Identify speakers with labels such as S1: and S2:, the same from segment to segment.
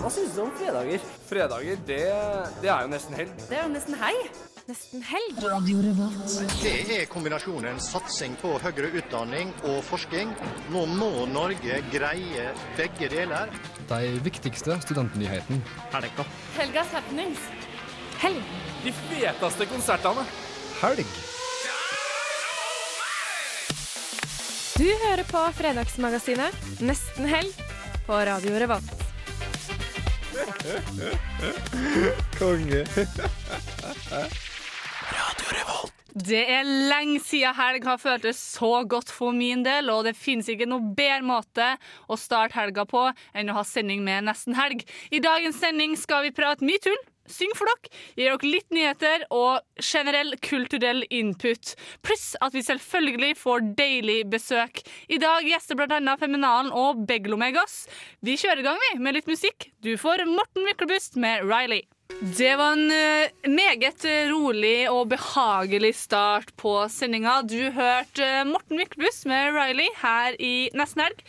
S1: Hva syns du om fredager?
S2: Fredager, det, det er jo nesten helg.
S3: Det er jo nesten helg. Nesten helg.
S4: Det er kombinasjonen satsing på høyere utdanning og forskning. Nå må Norge greie begge deler.
S5: De viktigste studentnyhetene.
S3: Helgas happenings. Helg.
S2: De feteste konsertene.
S5: Helg!
S3: Du hører på Fredagsmagasinet Nesten helg på Radio Revolt.
S6: Det er lenge siden helg har føltes så godt for min del, og det finnes ikke noe bedre måte å starte helga på enn å ha sending med Nesten helg. I dagens sending skal vi prate mye tull. Syng for dere, gi dere litt nyheter og generell kulturell input. Pluss at vi selvfølgelig får deilig besøk. I dag gjester bl.a. Feminalen og Beglomegas. Vi kjører i gang vi med litt musikk. Du får Morten Myklebust med Riley. Det var en eh, meget rolig og behagelig start på sendinga. Du hørte eh, Morten Myklebust med Riley her i Nesten Helg.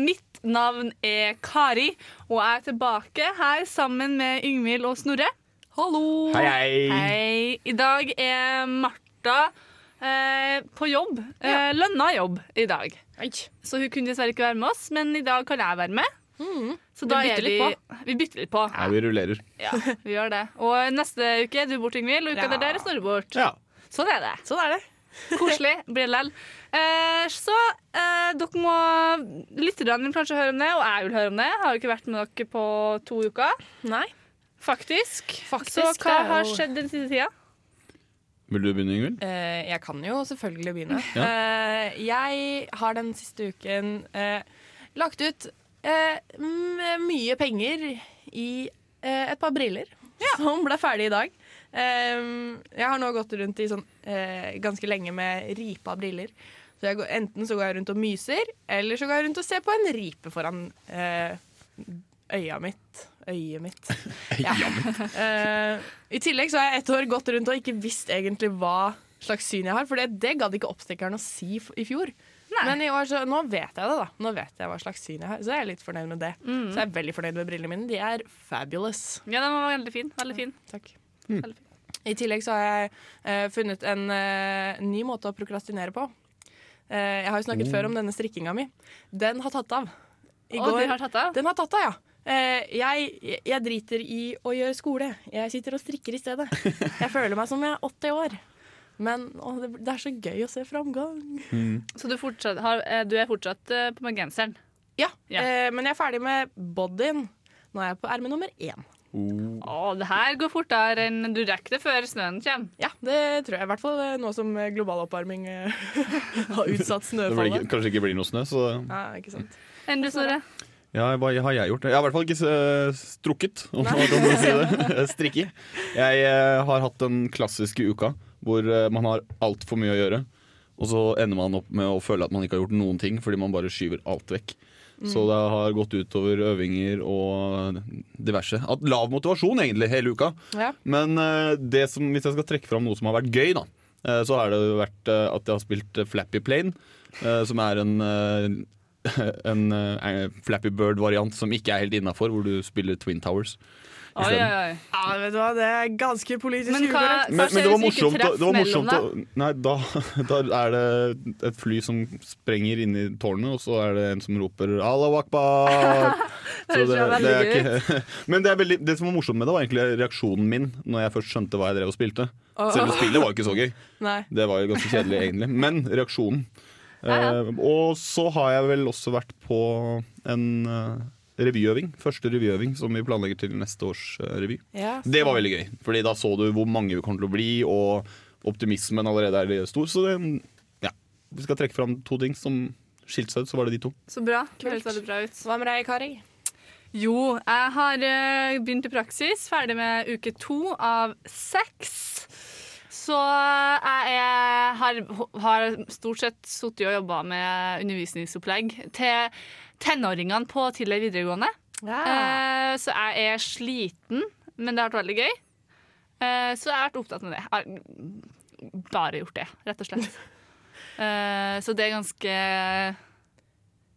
S6: Mitt navn er Kari, og jeg er tilbake her sammen med Yngvild og Snorre. Hallo!
S1: Hei, hei.
S6: Hei. I dag er Martha eh, på jobb. Eh, lønna jobb i dag. Så hun kunne dessverre ikke være med oss, men i dag kan jeg være med. Så da
S3: bytter
S6: er Mm. vi,
S3: litt
S6: vi bytter litt på.
S7: Ja, vi rullerer.
S6: Ja, vi gjør det. Og neste uke er du bort, Ingvild, og uka
S3: Ja.
S6: der der er Snorre bort.
S7: Ja.
S6: Sånn er det.
S3: Sånn er det.
S6: Koselig blir det lell. Eh, så eh, dere må Lytterne vil kanskje høre om det, og jeg vil høre om det. Jeg har jo ikke vært med dere på to uker,
S3: Nei.
S6: faktisk.
S3: Faktisk,
S6: så
S3: det
S6: hva
S3: er jo-
S6: har skjedd den siste tida?
S7: Vil du begynne, Ingvild?
S3: Eh, jeg kan jo selvfølgelig begynne.
S7: Ja.
S3: Eh, jeg har den siste uken eh, lagt ut eh, m- mye penger i eh, et par briller, som ble ferdig i dag. Ehm, jeg har nå gått rundt i sånn, eh, ganske lenge med ripa briller. Så jeg går, enten så går jeg rundt og myser, eller så går jeg rundt og ser på en ripe foran eh, øya mitt. Øyet mitt. Ja. Eh, I tillegg så har jeg et år gått rundt og ikke visst egentlig hva slags syn jeg har, for det, det gadd ikke oppstikkeren å si f i fjor. Men i år så, nå vet jeg det, da. Nå vet jeg hva slags syn jeg har, så jeg er litt fornøyd med det. Så jeg er veldig fornøyd med brillene mine. De er fabulous.
S6: Ja, den var veldig fin. Veldig fin.
S3: Takk.
S6: Veldig fin.
S3: I tillegg så har jeg eh, funnet en eh, ny måte å prokrastinere på. Eh, jeg har jo snakket før om denne strikkinga mi. Den har tatt av. I
S6: Og dere har tatt av?
S3: den har tatt av, ja. Eh, jeg, jeg driter i å gjøre skole. Jeg sitter og strikker i stedet. Jeg føler meg som jeg er 80 år. Men å, det, det er så gøy å se framgang.
S6: Så du, fortsatt, har, eh, du er fortsatt eh, på med genseren?
S3: Ja,
S6: Ja.
S3: Eh, men jeg er ferdig med bodyen. Nå er jeg på erme nummer én.
S7: Oh.
S6: Å, det her går fortere enn du rekker det før snøen kommer.
S3: Ja, det tror jeg. I hvert fall eh, nå som eh, global oppvarming eh, har utsatt
S7: Det blir,
S3: snøfallet.
S7: ikke- kanskje ikke blir noe snø, så
S3: Ja, ikke sant.
S6: Enn du, Snorre?
S7: Ja, hva har jeg gjort? Jeg har i hvert fall ikke eh, strukket, om man kan si det. Strikke. Jeg eh, har hatt den klassiske uka hvor eh, man har altfor mye å gjøre. Og så ender man opp med å føle at man ikke har gjort noen ting, fordi man bare skyver alt vekk.
S2: Mm.
S7: Så det har gått utover øvinger og diverse. At lav motivasjon, egentlig, hele uka.
S3: Ja.
S7: Men eh, det som, hvis jeg skal trekke fram noe som har vært gøy, da, eh, så har det vært eh, at jeg har spilt eh, Flappy Plane, eh, som er en eh, en eh, Flappy Bird-variant som ikke er helt innafor, hvor du spiller Twin Towers.
S6: Oi,
S7: isteden.
S6: oi, oi.
S3: ja, vet du hva, det er ganske politisk
S6: Men hva, hva
S3: ukorrekt.
S7: Men, men
S6: skjer
S7: det var
S6: hvis vi
S7: morsomt,
S6: ikke
S7: å- det
S6: treffer
S7: var
S6: mellom
S7: morsomt
S6: da?
S7: å- Nei, da, da er det et fly som sprenger inn i tårnet, og så er det en som roper 'Allah akbar'. Så
S6: Høres jo veldig
S7: er ikke, men det, er veldig, det som var morsomt med det, var egentlig reaksjonen min når jeg først skjønte hva jeg drev og spilte. Selve spillet var jo ikke så gøy.
S3: Nei.
S7: Det var jo ganske kjedelig, egentlig. Men reaksjonen. Eh, og så har jeg vel også vært på en eh, revyøving. Første revyøving som vi planlegger til neste års eh, revy.
S3: Ja,
S7: Det var veldig gøy, Fordi da så du hvor mange vi kommer til å bli, og optimismen allerede er stor. Så det, ja. Vi skal trekke fram to ting som skilte seg ut, så var det de to.
S6: Så bra. Det
S3: Kult.
S6: høres veldig bra ut.
S3: Hva med deg, Kari?
S6: Jo, jeg har eh, begynt i praksis, ferdig med uke to av seks. Så jeg er, har, har stort sett sittet og jobba med undervisningsopplegg til tenåringene på tidligere videregående.
S3: Ah.
S6: Eh, så jeg er sliten, men det har vært veldig gøy. Eh, så jeg har vært opptatt med det. Jeg har bare gjort det, rett og slett. Eh, så det er ganske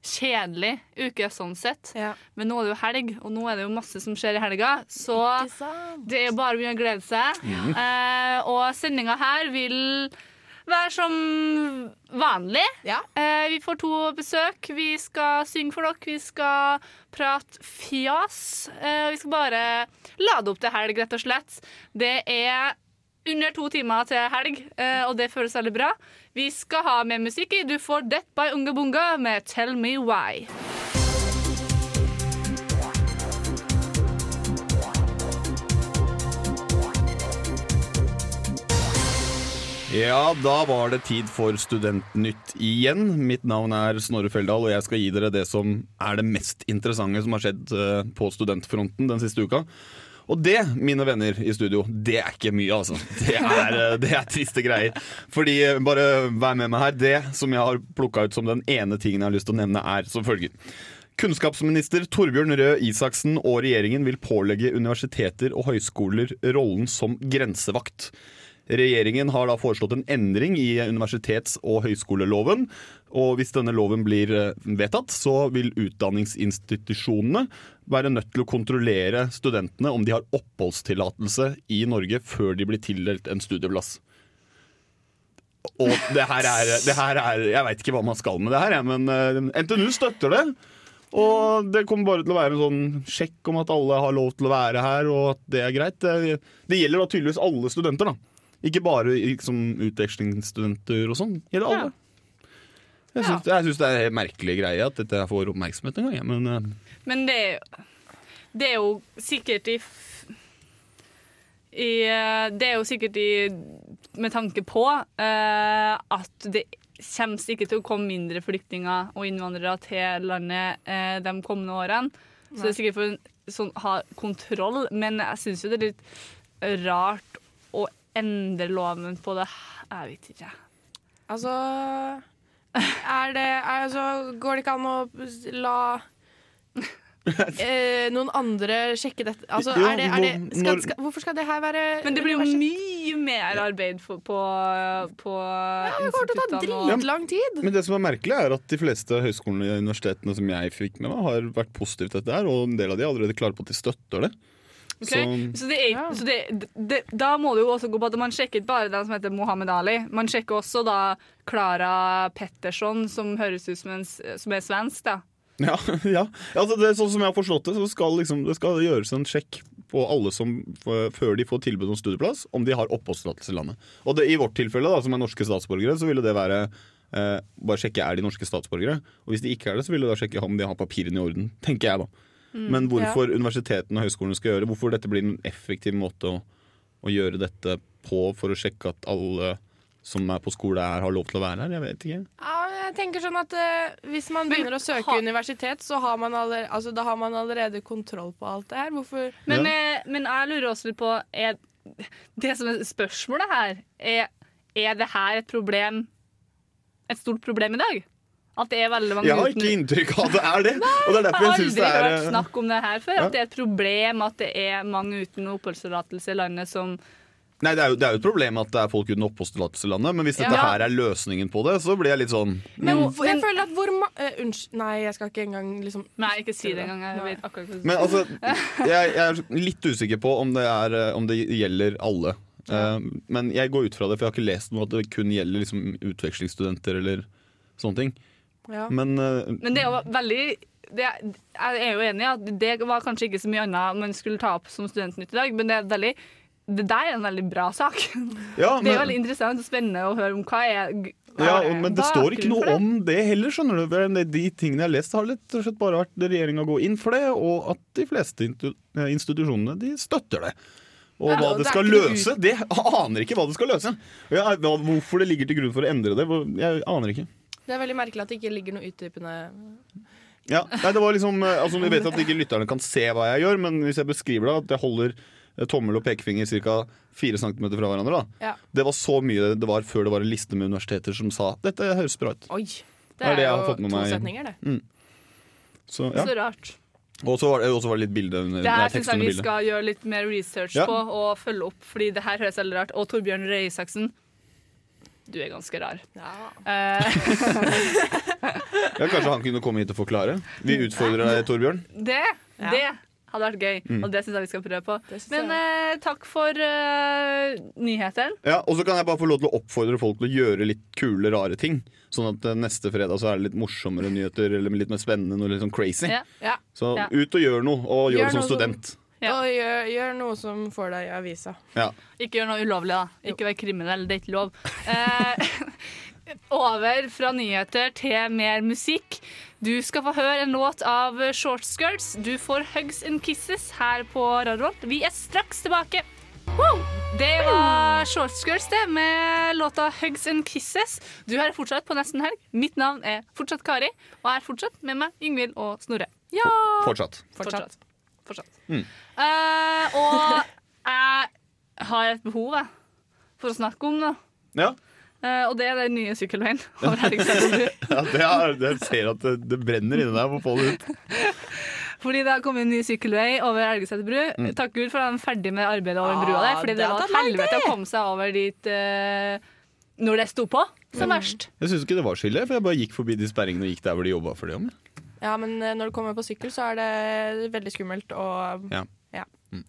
S6: kjedelig uke sånn sett.
S3: Ja.
S6: Men nå er det jo helg, og nå er det jo masse som skjer i helga. Så det er bare mye å glede seg. Eh, og sendinga her vil være som vanlig.
S3: Ja.
S6: Eh, vi får to besøk. Vi skal synge for dere. Vi skal prate fjas. Eh, vi skal bare lade opp til helg, rett og slett. Det er under to timer til helg, eh, og det føles veldig bra. Vi skal ha med musikk i. Du får Death by Unga Bunga med Tell Me Why.
S7: Ja, da var det tid for Studentnytt igjen. Mitt navn er Snorre Feldal, og jeg skal gi dere det som er det mest interessante som har skjedd eh, på studentfronten den siste uka. Og det, mine venner i studio, det er ikke mye, altså. Det er, eh, det er triste greier. Fordi, eh, bare vær med meg her, det som jeg har plukka ut som den ene tingen jeg har lyst til å nevne, er som følger. Kunnskapsminister Torbjørn Røe Isaksen og regjeringen vil pålegge universiteter og høyskoler rollen som grensevakt. Regjeringen har da foreslått en endring i universitets- og høyskoleloven. Og hvis denne loven blir eh, vedtatt, så vil utdanningsinstitusjonene være nødt til å kontrollere studentene om de har oppholdstillatelse i Norge før de blir tildelt en studieplass. Og det her er, det her er Jeg veit ikke hva man skal med det her, jeg, men eh, NTNU støtter det. Og det kommer bare til å være en sånn sjekk om at alle har lov til å være her, og at det er greit. Det, det gjelder da tydeligvis alle studenter, da. Ikke bare liksom, utvekslingsstudenter og sånn. Gjelder alle. Jeg syns, jeg syns det er en helt merkelig greie at dette får oppmerksomhet en gang, jeg, men eh,
S6: Men det er jo, det er jo sikkert i, f- i eh, Det er jo sikkert i med tanke på eh, at det kommer ikke til å komme mindre flyktninger og innvandrere til landet eh, de kommende årene. Så det er sikkert for å sånn, ha kontroll, men jeg syns jo det er litt rart å endre loven på det. Jeg vet ikke.
S3: Altså Er det er, altså, Går det ikke an å la eh, noen andre sjekke dette altså,
S7: Jo,
S3: er det, er det,
S7: når-
S3: skal,
S7: når-
S3: skal, Hvorfor skal det her være
S6: Men det blir jo
S3: universet?
S6: mye mer arbeid for, på, på
S3: Ja, Det kommer til å ta
S6: instituttene og-
S3: dritlang tid.
S7: Men det som er merkelig er at de fleste høyskolene og universitetene som jeg fikk med meg, har vært positive til dette her, og en del av de er allerede klare på at de støtter det.
S6: Ok,
S7: Så-
S6: Så, det er,
S3: Ja.
S6: så det, det, da må det jo også gå på at man sjekker ikke bare den som heter Mohammed Ali. Man sjekker også da Klara Petterson, som høres ut som, en, s- som er svensk. da.
S7: Ja, ja. Altså, det er sånn som jeg har forstått det, så skal liksom, det skal gjøres en sjekk på alle som, f- før de får tilbud om studieplass, om de har oppholdstillatelse i landet. Og det, i vårt tilfelle, da, som er norske statsborgere, så ville det være eh, bare sjekke er de norske statsborgere. Og hvis de ikke er det, så ville det da sjekke om de har papirene i orden, tenker jeg da. Men hvorfor universitetene og høyskolene skal gjøre det, hvorfor dette blir en effektiv måte å, å gjøre dette på for å sjekke at alle som er på skole her, har lov til å være her, jeg vet ikke.
S3: Ja, men jeg tenker sånn at eh, Hvis man
S6: Men
S3: begynner å søke
S6: ha-
S3: universitet, så har man, aller, altså, da har man allerede kontroll på alt det her. Hvorfor
S6: Men,
S7: Ja.
S6: eh, men jeg lurer også litt på er, Det som er spørsmålet her, er er det her et problem Et stort problem i dag? At det er veldig mange
S7: Jeg har ikke inntrykk av at det er det. Og det er
S6: Det
S7: derfor
S6: har
S7: jeg
S6: aldri
S7: synes det er eh,
S6: vært snakk om det her før.
S7: Ja.
S6: At det er et problem at det er mange uten oppholdstillatelse i landet som
S7: Nei, det er, jo, det er jo et problem at det er folk uten oppholdstillatelse i landet, men hvis dette
S6: Ja.
S7: her er løsningen på det, så blir jeg litt sånn
S3: men,
S6: Jo,
S3: Jeg
S6: men-
S3: føler at hvor ma... eh, Unnskyld. Nei, jeg skal ikke engang liksom
S6: Nei, ikke si det engang. Jeg
S3: Nei.
S6: vet akkurat hva du
S7: Men altså, jeg, jeg er litt usikker på om det, er, eh, om det gjelder alle. Eh, men jeg går ut fra det, for jeg har ikke lest noe at det kun gjelder liksom, utvekslingsstudenter eller sånne ting.
S3: Ja.
S7: Men eh,
S6: Men det er jo veldig det, Jeg er jo enig i at det var kanskje ikke så mye annet man skulle ta opp som Studentnytt i dag, men det er veldig det der er en veldig bra sak.
S7: ja,
S6: Det er veldig
S7: men,
S6: interessant og spennende å høre om hva er
S7: ja, men det står ikke noe
S6: bakgrunnen for
S7: om det heller, skjønner du. For det- De tingene jeg har lest, har rett og slett bare vært regjeringa går inn for det, og at de fleste intu- eh, institusjonene de støtter det. Og
S3: Ja,
S7: hva det
S3: og det er
S7: skal
S3: ikke noe
S7: løse, det aner ikke hva det skal løse. Og jeg, hva- hvorfor det ligger til grunn for å endre det, hvor- jeg aner ikke.
S3: Det er veldig merkelig at det ikke ligger noe utdypende
S7: Ja, nei, det var liksom, eh, altså, Vi vet at ikke lytterne kan se hva jeg gjør, men hvis jeg beskriver det, at jeg holder eh, tommel og pekefinger ca. 4 cm fra hverandre. da.
S3: Ja.
S7: Det var så mye det var før det var en liste med universiteter som sa dette høres bra ut.
S3: Oi!
S7: Det er det jeg har fått med
S3: to
S7: meg. Mm.
S3: setninger, det.
S7: Så,
S6: det.
S7: ja.
S6: Så rart.
S7: Og så var det, og så var det litt bilde under
S6: Det
S7: nei,
S6: her
S7: tekst
S6: syns jeg
S7: under
S6: vi
S7: bildet.
S6: skal gjøre litt mer research
S7: Ja.
S6: på og følge opp, fordi det her høres veldig rart Og Torbjørn Røe Isaksen, du er ganske rar.
S3: Ja.
S6: Eh,
S7: Ja, kanskje han kunne komme hit og forklare? Vi utfordrer deg, Torbjørn.
S6: det,
S3: Ja.
S6: det hadde vært gøy, og det syns jeg vi skal prøve på.
S3: Det synes
S6: Men eh, takk for eh, nyheter.
S7: Ja, og så kan jeg bare få lov til å oppfordre folk til å gjøre litt kule, rare ting. Sånn at eh, neste fredag så er det litt morsommere nyheter, eller litt mer spennende, noe litt sånn crazy.
S6: Ja.
S3: Ja.
S7: Så
S6: Ja.
S7: ut og gjør noe, og gjør,
S3: Gjør
S7: det som
S3: noe som-
S7: student.
S6: Ja.
S3: Og gjør, gjør noe som får deg i avisa.
S7: Ja.
S6: Ikke gjør noe ulovlig, da. Ikke vær kriminell. Det er ikke lov. Eh, over fra nyheter til mer musikk. Du skal få høre en låt av Shortskirts. Du får Hugs and Kisses her på Rødrolt. Vi er straks tilbake. Woo! Det var Shortskirts, det, med låta Hugs and Kisses. Du er fortsatt på Nesten Helg. Mitt navn er fortsatt Kari, og er fortsatt med meg Yngvild og Snorre. Ja!
S7: Fortsatt.
S3: Fortsatt.
S6: Fortsatt. Eh, og jeg har et behov jeg, for å snakke om det.
S7: Ja,
S6: Eh, og det er den nye sykkelveien. over Herningsdalen.
S7: ja det er, jeg ser at det, det brenner inni deg. Må få det ut.
S6: Fordi det har kommet en ny sykkelvei over Elgeseter bru. Takk Gud for at de er ferdig med arbeidet over brua der.
S3: Ah,
S6: Fordi det
S3: det
S6: var
S3: hadde
S6: et
S3: vært
S6: helvete å komme seg over dit eh, når det sto på som verst.
S7: Jeg syns ikke det var skyldig, for jeg bare gikk forbi de sperringene og gikk der hvor de jobba for det. om. jeg.
S3: Ja, men eh, når du kommer på sykkel, så er det veldig skummelt å
S7: Ja.
S3: ja. Mm.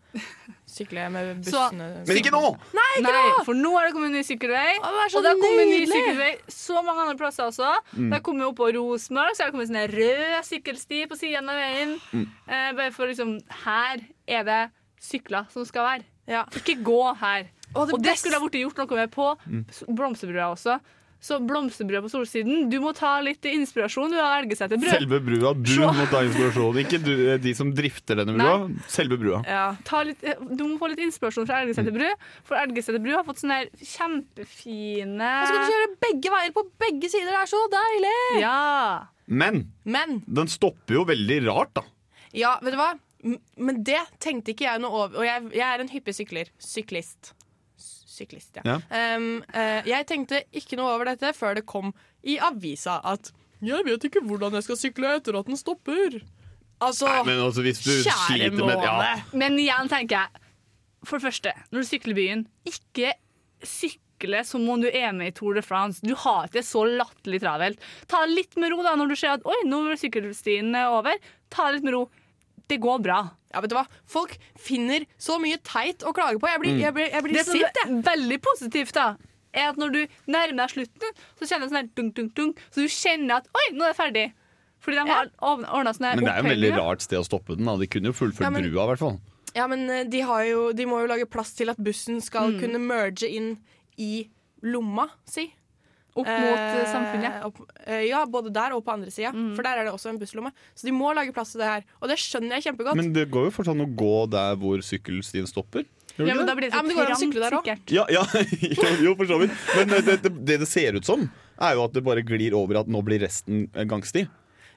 S3: sykle med
S6: Så-
S3: bussene.
S7: Men ikke nå!
S6: Nei, for nå er det kommet en ny sykkelvei.
S3: Å, det er så
S6: og det har kommet en ny
S3: nydelig.
S6: sykkelvei så mange andre plasser også. Det har kommet opp på Rosenborg, så har det kommet sånn en rød sykkelsti på siden av veien. Eh, bare for liksom Her er det sykler som skal være.
S3: Ja.
S6: Ikke gå her.
S3: Og
S6: Og det,
S3: det Altså, best-
S6: skulle ha blitt gjort noe med på S- Blomsterbrua også. Så Blomsterbrua på Solsiden, du må ta litt inspirasjon. Du har Elgeseter brød.
S7: Selve brua. Du må ta inspirasjon. Ikke du, de som drifter denne brua. Selve brua.
S3: Ja.
S6: Ta litt, eh, du må få litt inspirasjon fra Elgeseter bru, for Elgeseter bru har fått sånne her kjempefine
S3: Så kan du kjøre begge veier på begge sider. Det er så deilig!
S6: Ja.
S7: Men
S3: Men
S7: den stopper jo veldig rart, da.
S3: Ja, vet du hva? M- Men det tenkte ikke jeg noe over. Og jeg, jeg er en hyppig sykler. Syklist. S- Syklist, ja.
S7: Ja.
S3: Um, eh, jeg tenkte ikke noe over dette før det kom i avisa at Jeg vet ikke hvordan jeg skal sykle etter at den stopper. Altså
S7: Nei, men altså, hvis du
S3: Kjære
S7: sliter med ja.
S3: måne.
S6: Men igjen tenker jeg For det første, når du sykler i byen Ikke sykle som om du er med i Tour de France Du har ikke så lattelig travelt Ta det litt med ro da når du ser at Oi, nå er sykkelstien eh, over Ta det litt med ro Det går bra
S3: Ja, vet du hva? Folk finner så mye teit å klage på. Jeg
S7: Mm.
S3: blir, jeg blir, jeg blir
S6: Det som
S3: sint, jeg.
S6: er veldig positivt da Er at når du nærmer deg slutten Så kjenner du sånn her dunk, dunk, dunk Så du kjenner at Oi, nå er det ferdig Fordi de har ordnet ordnet sånn her
S7: Men det er jo et veldig
S6: opphøyninger.
S7: rart sted å stoppe den. da De kunne jo fullført
S3: Ja, men-
S7: brua, i hvert fall.
S3: Ja, men eh, de, har jo, de må jo lage plass til at bussen skal
S7: Mm.
S3: kunne merge inn i lomma si.
S6: Opp mot eh,
S3: Eh,
S6: samfunnet Mm.
S3: opp- eh, ja, både der og på andre sida. For der er det også en busslomme. Så de må lage plass til det her. Og det skjønner jeg kjempegodt.
S7: Men det går jo fortsatt an å gå der hvor sykkelstien stopper. Gjør det
S6: ja,
S7: ikke
S6: men da
S7: det?
S6: blir det
S3: Ja,
S6: så
S3: men det går an å
S6: trangt
S3: sykle der også.
S6: sikkert
S7: ja, ja, jo, jo, for så vidt. Men eh, det det, det det ser ut som, er jo at det bare glir over i at nå blir resten eh, gangsti.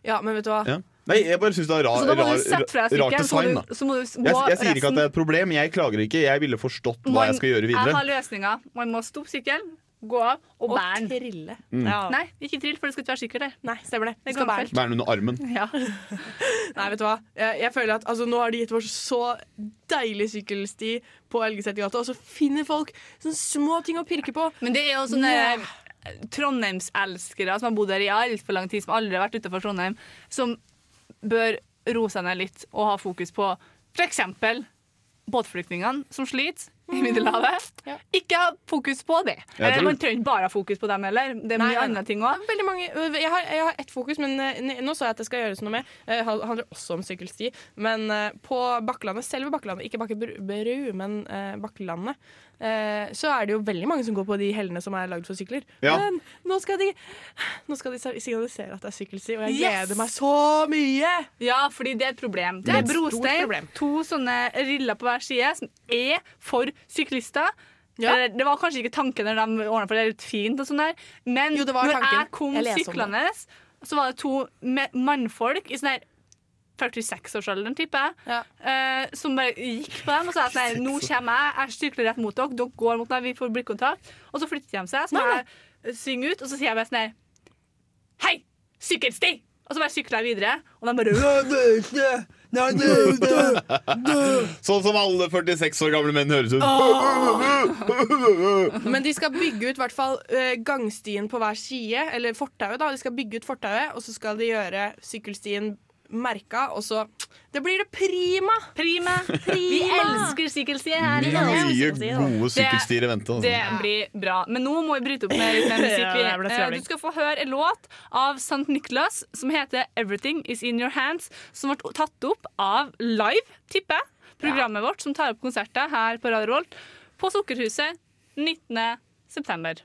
S3: ja, men vet du hva?
S7: Ja. Nei, jeg bare syns det er rar,
S6: Så da må
S7: rar,
S6: du sette fra deg
S7: rart
S6: sykkelen, så
S7: design,
S6: må
S7: da.
S6: du, så må du gå
S7: Jeg, jeg sier ikke at det
S6: resten.
S7: er et problem, jeg klager ikke. Jeg ville forstått hva jeg skal gjøre
S6: Jeg
S7: videre.
S6: har løsninga. Man må stoppe sykkelen, gå av og
S3: Å
S6: bære den.
S3: trille.
S7: Mm.
S3: Ja. Nei.
S6: Nei, ikke trill, for det skal ikke være sikker der.
S3: Nei, stemmer det.
S6: Det
S3: Vi skal
S6: går
S3: bære den.
S7: Bære den under armen.
S6: Ja.
S3: Nei, vet du hva. Jeg, jeg føler at altså, Nå har de gitt oss så deilig sykkelsti på Elgesetergata, og så finner folk sånne små ting å pirke på.
S6: Men det er jo sånne Trondheimselskere som har bodd her i altfor lang tid, som aldri har vært utenfor Trondheim, som bør roe seg ned litt og ha fokus på f.eks. båtflyktningene som sliter i Middelhavet.
S3: Ja.
S6: Ikke ha fokus på det.
S7: Jeg
S6: Eller
S7: tror-
S6: man trenger ikke bare ha fokus på dem heller. Det er
S3: Nei,
S6: mye
S3: nei, nei.
S6: andre ting òg.
S3: Veldig mange, øh, jeg, har, jeg har ett fokus, men eh, n- nå så jeg at det skal gjøres noe med. Det handler også om sykkelsti. Men eh, på Bakkelandet, selve Bakkelandet, ikke Bakkebru, men eh, Bakkelandet, eh, så er det jo veldig mange som går på de hellene som er lagd for sykler.
S7: Ja.
S3: Men nå skal, de, nå skal de signalisere at det er sykkelsti, og jeg
S6: Yes!
S3: gleder meg så mye!
S6: Ja, fordi det er et problem. Det er
S3: er et stort
S6: brostein.
S3: problem.
S6: To sånne riller på hver side som er for syklister.
S3: Ja.
S6: Eller, Det var kanskje ikke tanken når de ordna for det er litt fint, og sånn der. men
S3: Jo, det var
S6: når
S3: tanken.
S6: jeg kom
S3: Jeg leser om
S6: syklende, så var det to me- mannfolk i sånn her 46-årsalderen, tipper jeg,
S3: Ja.
S6: eh, som bare gikk på dem og sa at nei, nå kommer jeg, jeg sykler rett mot dere, dere går mot meg, vi får blikkontakt. Og så flytter de seg, så må
S3: Nei,
S6: jeg synge ut, og så sier jeg bare sånn her Hei, sykkelsti! Og så bare sykla jeg videre, og de bare
S7: Sånn som alle 46 år gamle menn høres ut.
S3: Men de skal bygge ut i hvert fall eh, gangstien på hver side, eller fortauet, da. De skal bygge ut fortauet, og så skal de gjøre sykkelstien merka, og så Det blir det prima!
S6: Prima! Vi elsker sykkelstier her i
S7: Mye gode sykkelstier i vente.
S6: Det
S7: Altså.
S6: blir bra. Men nå må vi bryte opp med litt mer musikk. vi.
S3: Ja, det ble
S6: Eh,
S3: skravling.
S6: du skal få høre en låt av St. Nicholas som heter 'Everything Is In Your Hands', som ble tatt opp av Live, tipper jeg, programmet vårt som tar opp konserter her på Radio Rolt, på Sukkerhuset 19. september.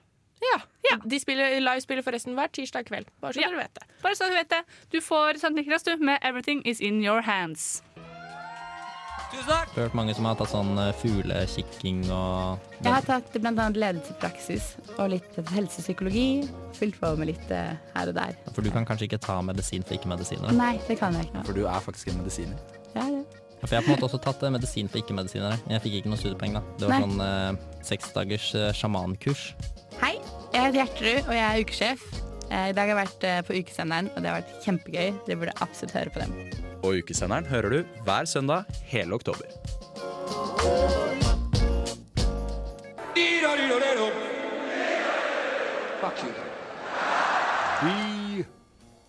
S3: Ja. De spiller, live spiller forresten hver tirsdag kveld, bare så
S6: Ja.
S3: dere vet det.
S6: Bare så du vet det. Du får St. Nicholas du, med 'Everything Is In Your Hands'.
S8: Jeg har hørt mange som har tatt sånn eh, fuglekikking og
S9: Jeg har tatt bl.a. ledelsespraksis og litt helsepsykologi. Fylt på med litt eh, her og der.
S8: For du kan kanskje ikke ta medisin for ikke-medisinere.
S9: Nei, det kan jeg ikke.
S1: For du er faktisk en medisiner.
S9: Ja, det.
S8: For jeg har på en måte også tatt eh, medisin for ikke-medisinere. Jeg fikk ikke noe studiepoeng, da. Det var
S9: Nei.
S8: sånn eh, seksdagers eh, sjamankurs.
S9: Hei, jeg heter Gjertrud, og jeg er ukesjef. Eh, I dag har jeg vært eh, på ukesenderen, og det har vært kjempegøy. Dere burde absolutt høre på dem.
S10: Og Ukesenderen hører du hver søndag hele oktober.
S11: Be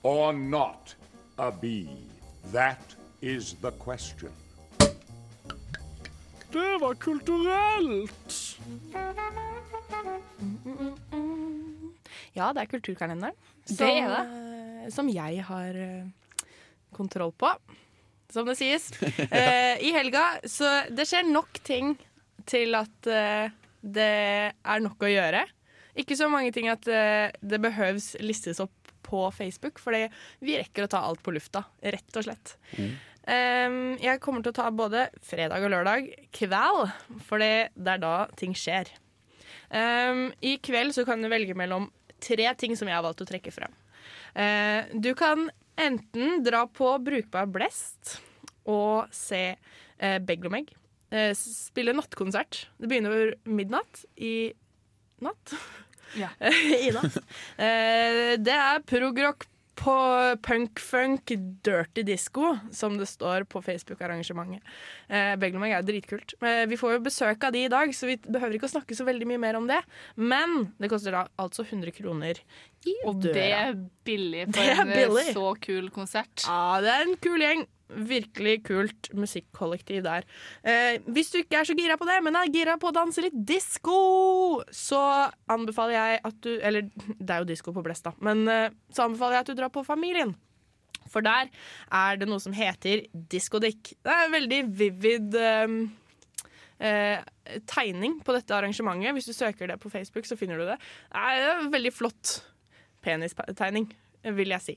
S11: or not a bee? That is the question.
S3: Ja, det er kulturkalenderen.
S6: Det
S3: som,
S6: er
S3: eh, Som jeg har eh, kontroll på, som det sies. Eh, I helga. Så det skjer nok ting til at eh, det er nok å gjøre. Ikke så mange ting at eh, det behøves listes opp på Facebook, for vi rekker å ta alt på lufta, rett og slett.
S6: Mm.
S3: Eh, jeg kommer til å ta både fredag og lørdag kveld, for det er da ting skjer. Um, I kveld så kan du velge mellom tre ting som jeg har valgt å trekke fram. Eh, du kan enten dra på Brukbar blest og se uh, Beglomeg. eh, s- spille nattkonsert. Det begynner over midnatt i natt.
S6: Ja.
S3: I natt. Eh, det er progrock på punk-funk dirty disco, som det står på Facebook-arrangementet. Eh, Beglomeg er dritkult. Eh, vi får jo besøk av de i dag, så vi behøver ikke å snakke så veldig mye mer om det. Men det koster da altså 100 kroner i
S6: Og
S3: døra.
S6: det er billig for
S3: Det er
S6: en eh,
S3: billig.
S6: så kul konsert.
S3: Ja, det er en kul gjeng. Virkelig kult musikkollektiv der. Eh, hvis du ikke er så gira på det, men er gira på å danse litt disko, så anbefaler jeg at du Eller det er jo disko på Blest, da. Men eh, så anbefaler jeg at du drar på Familien. For der er det noe som heter diskodick. Det er en veldig vivid eh, eh, tegning på dette arrangementet. Hvis du søker det på Facebook, så finner du det. Det er en veldig flott penistegning, vil jeg si.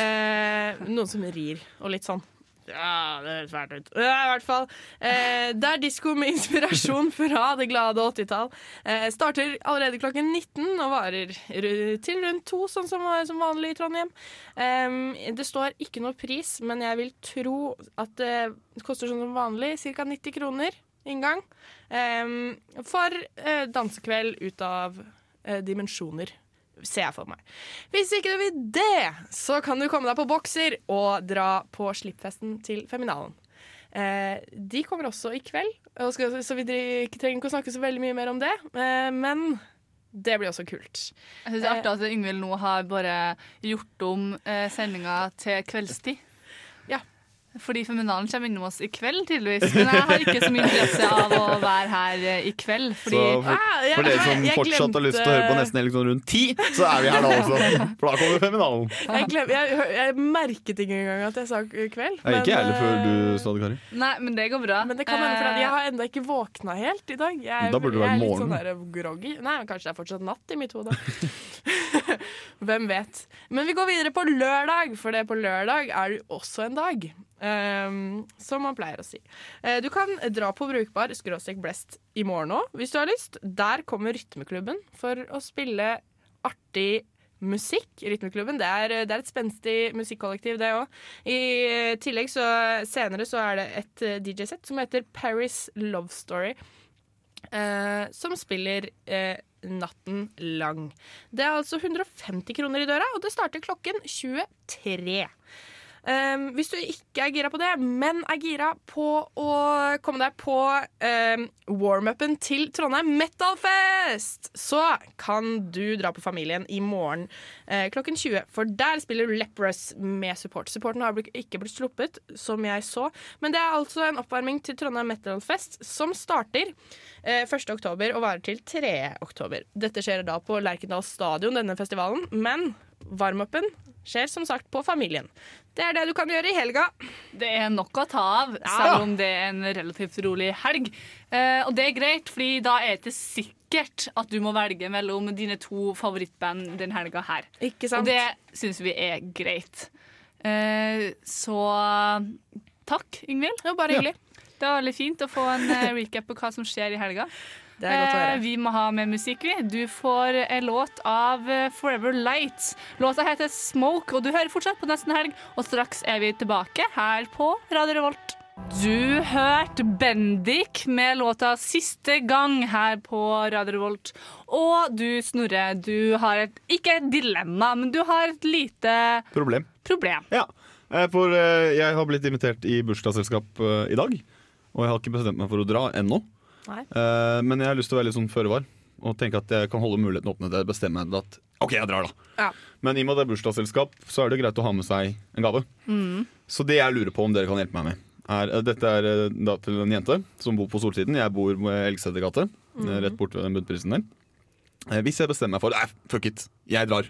S3: Eh, noen som rir og litt sånn. Ja, det høres fælt ut. Ja, I hvert fall. Eh, det er disko med inspirasjon fra det glade 80-tall. Eh, starter allerede klokken 19 og varer ru- til rundt to, sånn som, som vanlig i Trondheim. Eh, det står ikke noe pris, men jeg vil tro at det koster sånn som vanlig ca. 90 kroner inngang. Em, for eh, dansekveld ut av eh, dimensjoner, ser jeg for meg. Hvis ikke du vil det, så kan du komme deg på bokser og dra på slippfesten til Feminalen. Eh, de kommer også i kveld, og skal, så vi dri- ikke trenger ikke å snakke så veldig mye mer om det. Eh, men det blir også kult.
S6: Jeg synes det er artig at Yngvild nå har bare gjort om eh, sendinga til kveldstid.
S3: Ja.
S6: Fordi Feminalen kommer innom oss i kveld, tydeligvis. Men jeg har ikke så mye interesse av å være her eh, i kveld. Fordi
S7: Så for,
S3: Ah, jeg-
S7: for dere som
S3: jeg
S7: fortsatt har lyst til å høre på
S3: glemte-
S7: Nesten Helg sånn rundt ti, så er vi her da også. For da kommer feminalen.
S3: Jeg, glem, jeg, hø- jeg merket ikke engang at jeg sa k- kveld.
S7: Nei, ikke jeg heller før
S3: eh,
S7: du sa det, Kari.
S6: Nei, men det går bra.
S3: Men det kan være
S6: Eh,
S3: fordi jeg har ennå ikke våkna helt i dag. Jeg, er-
S7: Da burde det være
S3: jeg er litt
S7: morgen.
S3: sånn der groggy. Nei, men kanskje det er fortsatt natt i mitt hode. Hvem vet. Men vi går videre på lørdag, for det på lørdag er det også en dag. ehm, som man pleier å si. Eh, du kan dra på Brukbar skråstrek blest i morgen òg, hvis du har lyst. Der kommer Rytmeklubben for å spille artig musikk. Rytmeklubben, det er, det er et spenstig musikkollektiv, det òg. I tillegg så senere så er det et DJ-sett som heter Paris Love Story. eh, som spiller eh, natten lang. Det er altså 150 kroner i døra, og det starter klokken 23. Um, hvis du ikke er gira på det, men er gira på å komme deg på um, warm-upen til Trondheim Metalfest, så kan du dra på Familien i morgen eh, klokken 20. For der spiller Leprous med support. Supporten har blik- ikke blitt sluppet, som jeg så. Men det er altså en oppvarming til Trondheim Metalfest som starter eh, 1. oktober og varer til 3. oktober. Dette skjer da på Lerkendal stadion, denne festivalen. Men Varmupen skjer som sagt på familien. Det er det du kan gjøre i helga.
S6: Eh, Det er nok å ta av, selv om det er en relativt rolig helg. Eh, og det er greit, fordi da er det ikke sikkert at du må velge mellom dine to favorittband den helga her.
S3: Ikke sant?
S6: Og det syns vi er greit. Eh, så takk, Ingvild.
S3: Det var bare hyggelig.
S6: Det var veldig fint å få en eh, recap på hva som skjer i helga.
S3: Det er godt å høre.
S6: Eh, vi må ha med musikk, vi. Du får en låt av eh, Forever Light. Låta heter Smoke, og du hører fortsatt på Nesten Helg. Og straks er vi tilbake her på Radio Revolt. Du hørte Bendik med låta 'Siste gang' her på Radio Revolt. Og du, Snorre, du har et ikke et dilemma, men du har et lite
S7: Problem.
S6: problem.
S7: Ja, eh, for eh, jeg har blitt invitert i bursdagsselskap eh, i dag. Og jeg har ikke bestemt meg for å dra ennå.
S3: Nei.
S7: Eh, Men jeg har lyst til å være litt sånn føre var og tenke at jeg kan holde muligheten åpne til jeg bestemmer meg at OK, jeg drar, da.
S3: Ja.
S7: Men i og med at det er bursdagsselskap, så er det greit å ha med seg en gave.
S12: Mm.
S7: Så det jeg lurer på om dere kan hjelpe meg med, er eh, Dette er eh, da til en jente som bor på Solsiden. Jeg bor ved Elgseter gate, eh,
S3: Mm.
S12: Mhm.
S7: rett borte ved den bunnprisen der. Eh, Hvis jeg bestemmer meg for Nei, fuck it, jeg drar.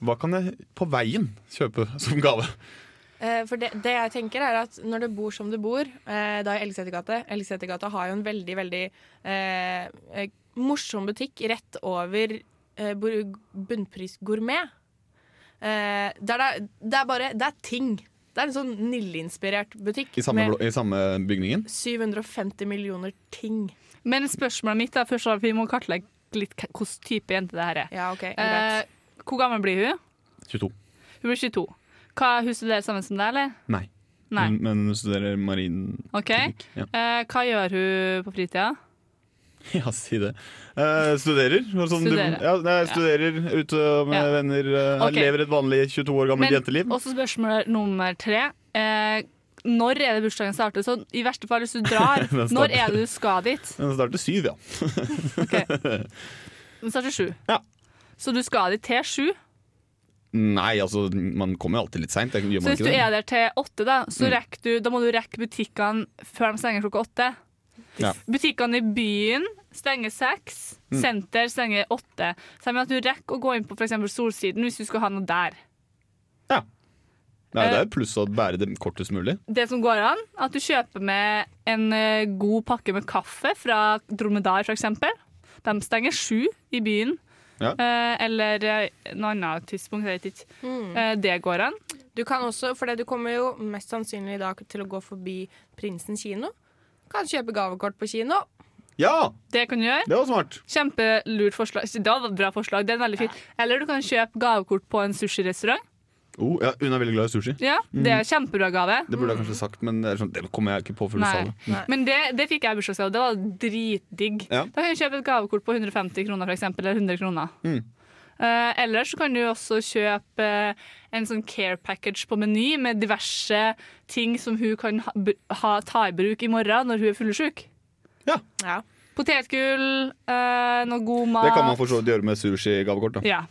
S7: Hva kan jeg på veien kjøpe som gave?
S3: Eh, For det, det jeg tenker er at når du bor som du bor, eh, da i Elgsetergata Elgsetergata har jo en veldig, veldig eh, eh, morsom butikk rett over eh, Bur- Bunnpris Gourmet. Eh, der det, er- det er bare Det er ting. Det er en sånn Nille-inspirert butikk
S7: I samme,
S3: med
S7: blå- I samme bygningen?
S3: 750 millioner ting.
S6: Men spørsmålet mitt er først og fremst, vi må kartlegge litt k- hvilken type jente det her er.
S3: Ja, ok,
S6: Eh,
S3: greit.
S6: hvor gammel blir hun?
S7: 22.
S6: Hun blir 22. Hva, hun studerer sammen som deg, eller?
S7: Nei.
S6: Nei.
S7: Men, men hun studerer marin...
S6: Ok.
S7: ja.
S6: Eh, hva gjør hun på fritida?
S7: Ja, si det. Eh, studerer. og Sånn,
S6: Studerer.
S7: Du, ja, nei, jeg studerer ute med
S6: Ja.
S7: venner. eh,
S6: Ok.
S7: Lever et vanlig 22 år gammelt jenteliv.
S6: også spørsmål nummer tre. Eh, når er det bursdagen starter? Så i verste fall, hvis du drar,
S7: Den starter-
S6: når er det du skal dit?
S7: Den starter syv, ja.
S6: Den starter sju.
S7: Ja.
S6: Så du skal dit til sju.
S7: Nei, altså, man kommer jo alltid litt seint. Gjør
S6: Så
S7: man
S6: hvis du
S7: ikke
S6: er
S7: det?
S6: der til åtte, da, så
S7: Mm.
S6: rekker du, da må du rekke butikkene før de stenger klokka åtte.
S7: Ja.
S6: Butikkene i byen stenger seks,
S7: Mm.
S6: senter stenger åtte. Så jeg mener at du rekker å gå inn på for eksempel Solsiden hvis du skal ha noe der.
S7: Nei, det er jo pluss å bære det kortest mulig.
S6: Det som går an, at du kjøper med en eh, god pakke med kaffe fra Dromedar f.eks. De stenger sju i byen.
S7: Ja.
S6: Eh, eller eh, noe annet tidspunkt, jeg vet ikke. Eh, det går an.
S3: Du kan også, for det, du kommer jo mest sannsynlig i dag til å gå forbi Prinsen kino. Kan kjøpe gavekort på kino.
S7: Ja!
S6: Det kan du gjøre.
S7: Det var smart.
S6: Kjempelurt forslag. Det var et bra forslag. Det er veldig fint. Eller du kan kjøpe gavekort på en sushirestaurant.
S7: Oh, ja, hun er veldig glad i sushi.
S6: Ja, det er kjempebra gave.
S7: Det burde jeg kanskje sagt, men det, er sånn, det kommer jeg ikke på før du sa
S6: Mm. Nei.
S7: det.
S6: Men det, det fikk jeg i bursdagsgave. Det var dritdigg.
S7: Ja.
S6: Da kan du kjøpe et gavekort på 150 kroner, for eksempel, eller 100 kroner.
S7: Mm.
S6: Eh, ellers så kan du også kjøpe eh, en sånn care package på Meny med diverse ting som hun kan ha, br- ha, ta i bruk i morgen når hun er fyllesyk.
S7: Ja.
S6: Potetgull, eh, noe god mat.
S7: Det kan man for så vidt gjøre med sushi-gavekort. da.
S6: Ja.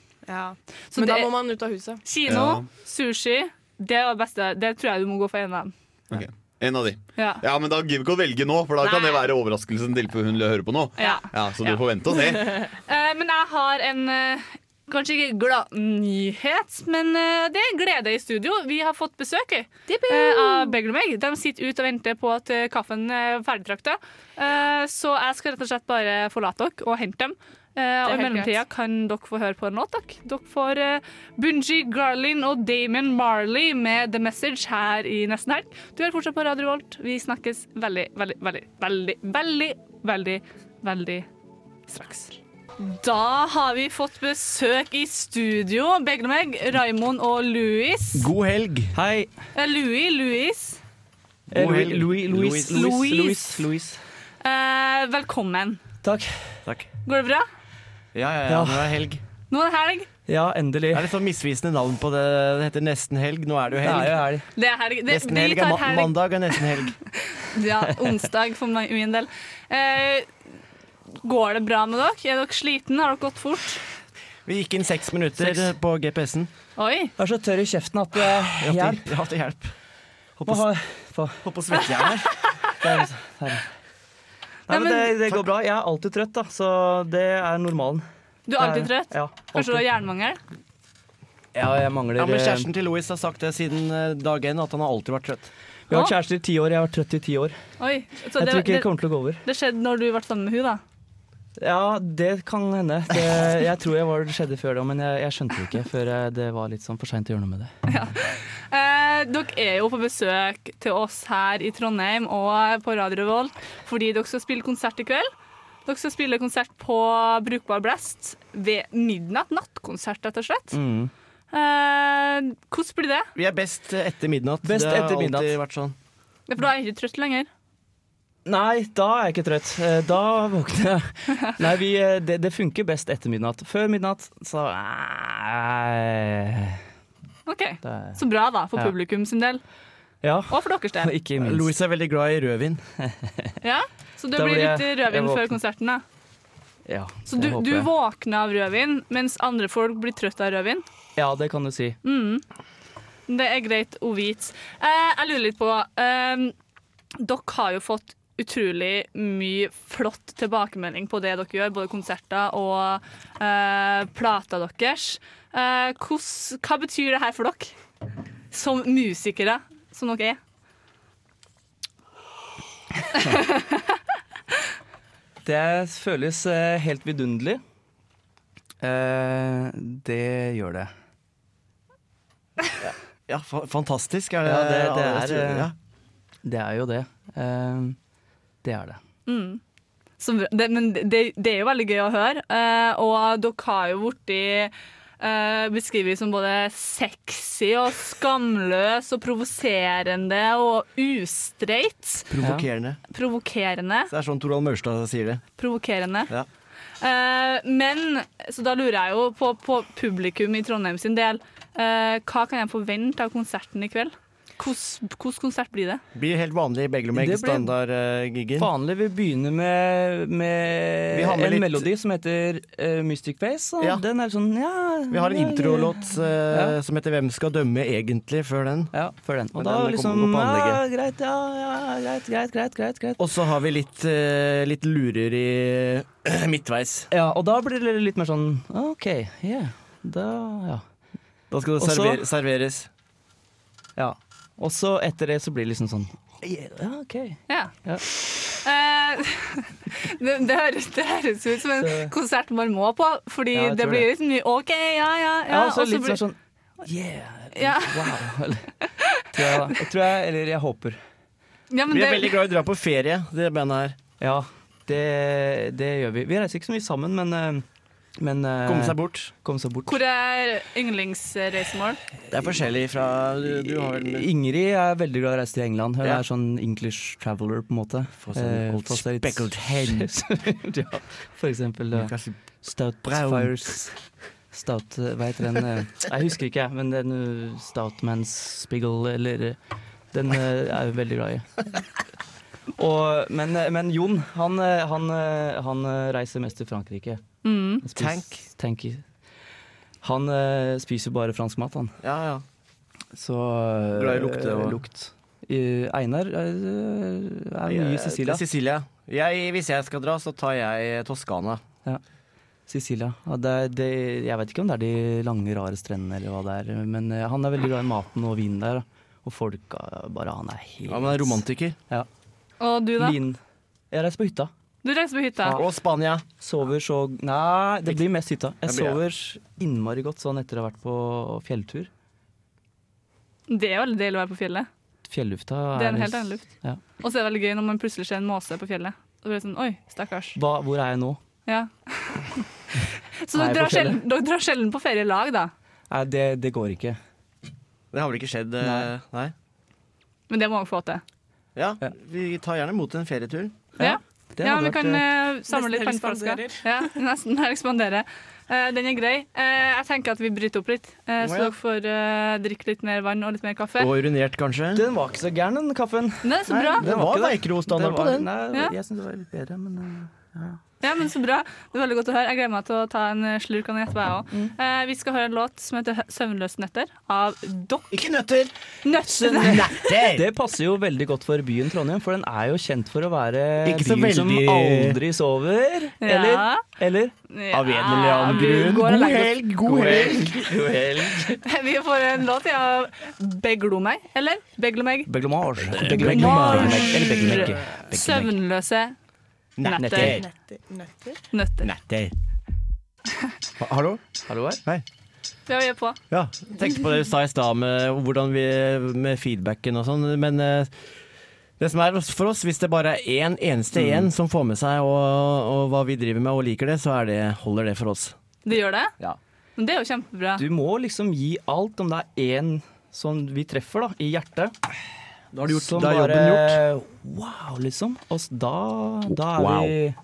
S3: Men da må
S6: man
S3: ut av huset.
S6: Kino,
S7: Ja.
S6: sushi, det var det beste. Det tror jeg du må gå for en av dem.
S7: Ok, En av de.
S6: Ja.
S7: men da gidder vi ikke å velge nå, for da kan det være overraskelsen til hun hører på nå.
S6: Ja.
S7: så du får vente og se.
S6: Eh, men jeg har en eh, kanskje ikke glad nyhet, men eh, det er glede i studio. Vi har fått besøk eh, av Beglermeg. De sitter ute og venter på at eh, kaffen er ferdigtrakta. Eh, så jeg skal rett og slett bare forlate dere og hente dem. Eh, og I
S3: helt
S6: mellomtida kan dere få høre på en låt. Dere, dere får eh, Bunji Garlin og Damon Marley med The Message her i nesten helg. Du er fortsatt på Radio Volt. Vi snakkes veldig, veldig, veldig, veldig, veldig, veldig, veldig straks. Da har vi fått besøk i studio. Begge meg, Raimond og Louis.
S13: God helg. Hei.
S6: Eh, Louis, Louis.
S13: Eh,
S14: God
S13: Louis-
S14: helg.
S13: Louis- Louis.
S6: Louis.
S14: Louis. Louis.
S6: Eh, velkommen.
S13: Takk.
S14: Takk.
S6: Går det bra?
S12: Ja, ja, ja,
S14: Ja.
S12: nå er det helg.
S6: Nå er det helg.
S14: Ja, endelig.
S12: Det er litt sånn misvisende navn på det. Det heter nesten helg, nå er det jo helg.
S14: Det er jo helg.
S6: Det er helg. Det,
S12: Nesten
S6: vi
S12: helg
S6: tar
S12: er ma
S6: helg.
S12: mandag og nesten helg.
S6: Ja, onsdag for meg- min del. Eh, går det bra med dere? Er dere slitne? Har dere gått fort?
S12: Vi gikk inn seks minutter
S14: Seks.
S12: på GPS-en.
S6: Oi.
S14: Jeg er så tørr i kjeften at jeg
S12: Jeg
S14: Hjelp.
S12: måtte hjelp.
S14: Må ha- få-
S12: Hopp og svette jeg
S14: Det er- det er- Nei, men det, det går bra. Jeg er alltid trøtt, da, så det er normalen.
S6: Du er alltid
S14: Det
S6: trøtt?
S14: Ja,
S6: Kanskje du har
S14: alltid.
S6: jernmangel?
S14: ja, jeg mangler
S12: Ja, men
S14: eh,
S12: Kjæresten til Louis har sagt det siden eh, dag én, at han har alltid vært trøtt.
S14: Vi har vært kjærester i ti år. Jeg har vært trøtt i ti år.
S6: Oi. så
S14: Jeg
S6: det-
S14: tror ikke det
S6: det-
S14: kommer til å gå over.
S6: Det skjedde når du ble sammen med hun da.
S14: Ja, det kan hende. Det, jeg tror jeg var det skjedde før det, men jeg, jeg skjønte det ikke før eh, det var litt sånn for seint å gjøre noe med det.
S6: Eh, dere er jo på besøk til oss her i Trondheim og på Radio Revolt fordi dere skal spille konsert i kveld. Dere skal spille konsert på Brukbar Blast ved midnatt. Nattkonsert, rett og slett.
S12: Mm.
S6: Eh, hvordan blir det?
S12: Vi er best eh, etter midnatt.
S14: Best
S12: det har
S14: etter midnatt.
S12: alltid vært sånn.
S6: Ja, For da er jeg ikke trøtt lenger.
S14: Nei, da er jeg ikke trøtt. Eh, Da våkner jeg. Nei, vi, eh, det, det funker best etter midnatt. Før midnatt, så eh, Nei.
S6: OK.
S14: Det er-
S6: Så bra, da, for
S14: Ja.
S6: publikum sin del.
S14: Ja.
S6: Og for deres del.
S14: Ikke minst.
S12: Louis er veldig glad i rødvin.
S6: Ja? Så det
S12: Da
S6: blir
S12: blir
S6: litt
S12: jeg- jeg
S6: rødvin
S12: våken.
S6: før konserten, da.
S14: Ja,
S6: Så du, du våkner av rødvin, mens andre folk blir trøtt av rødvin?
S14: Ja, det kan du si.
S6: Mm. Det er greit å vite. Eh, jeg lurer litt på eh, Dere har jo fått utrolig mye flott tilbakemelding på det dere gjør, både konserter og eh, plata deres. Eh, hvordan- hva betyr det her for dere, som musikere som dere er?
S14: Det føles eh, helt vidunderlig. Eh, det gjør det.
S12: Ja, fa fantastisk er det.
S14: Ja, det,
S12: alle
S14: det, er,
S12: tror, ja.
S14: eh, det er jo det. Eh, det er det.
S6: Mm. Så, bra. det, men det, det er jo veldig gøy å høre. eh, og dere har jo blitt eh, beskrevet som både sexy og skamløs og provoserende og ustreit.
S12: Provokerende.
S6: Provokerende.
S12: Det er sånn Torvald Maurstad sier det.
S6: Provokerende.
S12: Ja.
S6: Eh, men Så da lurer jeg jo på, på publikum i Trondheim sin del. Eh, hva kan jeg forvente av konserten i kveld? Hvilken konsert blir det?
S12: Blir helt vanlig Beglomeg
S14: Det blir-
S12: standard-giggen.
S14: Vanlig. Vi begynner med, med
S12: eh, Vi har med
S14: en
S12: litt-
S14: melodi som heter eh, Mystic Face. Og
S12: Ja.
S14: Den er sånn ja
S12: Vi har en
S14: ja,
S12: introlåt eh,
S14: Ja.
S12: som heter 'Hvem skal dømme egentlig?' før den.
S14: Ja, før den. Og
S12: Men
S14: da
S12: den
S14: liksom
S12: kommer på
S14: ja,
S12: anlegget.
S14: Greit, ja, ja, greit, greit, greit, greit, greit.
S12: Og så har vi litt, eh, litt lurer i midtveis.
S14: Ja, og da blir det litt mer sånn OK, yeah. Da, ja.
S12: Da skal det
S14: Og så-
S12: server serveres.
S14: ja. Og så etter det så blir det liksom sånn Ja, OK.
S6: Ja.
S14: Ja.
S6: Eh, det, det, høres, det høres ut som en
S14: Så-
S6: konsert man må på, fordi
S14: Ja, jeg
S6: det
S14: tror
S6: blir
S14: det.
S6: liksom mye OK, ja, ja, ja.
S14: Ja, og så litt
S6: blir-
S14: sånn
S6: Yeah! Ja.
S14: Wow. Eller, tror jeg, da. tror jeg, eller jeg håper.
S6: Ja, men
S12: vi er
S6: det-
S12: veldig glad i å dra på ferie, det bandet her.
S14: Ja, det, det gjør vi. Vi reiser ikke så mye sammen, men, eh, men eh,
S12: Komme seg bort.
S14: Komme seg bort.
S6: Hvor er yndlingsreisemål?
S12: Det er forskjellig fra du, du har vel
S14: Ingrid er veldig glad i å reise til England. Hun
S12: Ja.
S14: er sånn English traveler, på en måte. Eh,
S12: Få seg
S14: sånn
S12: en old speckled hen.
S14: ja, for eksempel eh,
S12: Kanskje
S14: Stout
S12: brown.
S14: Fires. Stout eh, Hva heter den? eh, Jeg husker ikke, jeg, men den eh, Stoutman's Spiggle, eller eh, Den eh, er jeg veldig glad i. Og, men, eh, men Jon, han, eh, han, eh, han eh, reiser mest til Frankrike.
S6: Mm.
S14: Han spiser-
S6: Tank.
S14: tank i- Han eh, spiser bare fransk mat, han.
S12: Ja, ja.
S14: Så
S12: Glad i lukte,
S14: eh,
S12: hva?
S14: lukt. Eh, Einar eh,
S12: Eh,
S14: er mye i
S12: det er
S14: Sicilia.
S12: Sicilia. Jeg, hvis jeg skal dra, så tar jeg eh, Toskana.
S14: Ja. Sicilia. Ja, det er, det, jeg vet ikke om det er de lange, rare strendene eller hva det er, men eh, han er veldig glad i maten og vinen der. da. Og folka bare Han er helt
S12: Ja, men han er romantiker.
S14: Ja.
S6: Og du, da?
S14: Lin. Jeg reiser på hytta.
S6: Du reiser på hytta.
S14: Og
S12: Spania.
S14: Sover så Nei, det blir mest hytta. Jeg
S12: Det blir
S14: sover innmari godt sånn etter å ha vært på fjelltur.
S6: Det er veldig deilig å være på fjellet.
S14: Fjellufta
S6: Det er en helt annen luft.
S14: Ja.
S6: Og så er det veldig gøy når man plutselig ser en måse på fjellet. Og blir det sånn, oi, stakkars.
S14: Hva, hvor er jeg nå?
S6: Ja. Så
S14: Nei,
S6: dere drar,
S14: på fjellet.
S6: sjelden, dere drar sjelden på ferie i lag, da.
S14: Nei, det, det går ikke.
S12: Det har vel ikke skjedd? eh, Nei.
S6: Men det må dere få til.
S12: Ja, vi tar gjerne imot en ferietur.
S6: Ja.
S14: Det
S6: ja, vi
S14: hadde vært,
S6: kan
S14: eh,
S6: eh, samle litt
S3: Nesten
S6: panneflasker.
S3: ekspanderer.
S6: Ja, nesten her ekspanderer. Eh, den er grei. Eh, jeg tenker at vi bryter opp litt, eh, så
S14: Å, ja.
S6: dere får eh, drikke litt mer vann og litt mer kaffe.
S14: Og urinert, kanskje. Den var ikke så gæren, den kaffen.
S6: Nei, så bra.
S14: den var veikro-standard på den.
S6: Ja.
S14: jeg syns det var litt bedre, men eh, ja.
S6: Ja, men Så bra. Det er veldig godt å høre. Jeg gleder meg til å ta en eh, slurk av den etterpå, jeg òg.
S14: Mm.
S6: Eh, vi skal høre en låt som heter 'Søvnløse nøtter' av Dokk.
S14: Ikke nøtter!
S6: Nøtter!
S14: Det passer jo veldig godt for byen Trondheim, for den er jo kjent for å være
S12: Ikke så
S14: byen som
S12: veldig-
S14: aldri sover.
S6: Ja.
S14: Eller? Eller?
S6: Ja,
S14: Av en eller annen
S6: vi
S14: grunn.
S6: går og legger oss. God
S14: God helg.
S6: vi får en låt ja, av Beglo meg, eller? Beglo meg.
S14: Beglomage.
S6: Beglomage.
S14: Eller beglomegge.
S6: Søvnløse
S14: Netter.
S6: nøtter. Nøtter.
S12: Netter. Ha- Hallo?
S14: Hallo her.
S12: Hei.
S6: Ja, vi er på.
S12: Ja, tenkte på det du sa i stad med, hvordan vi- med feedbacken og sånn, men eh, det som er for oss, hvis det bare er én eneste
S6: Mm.
S12: én som får med seg og, og hva vi driver med og liker det, så er det, holder det for oss.
S6: Det gjør det?
S14: Ja.
S6: Men det er jo kjempebra.
S14: Du må liksom gi alt om det er én som vi treffer da, i hjertet. Da
S12: har du gjort-
S14: som
S12: da er jobben
S14: bare, Wow, liksom. Og s- da, da er
S12: Wow.
S14: vi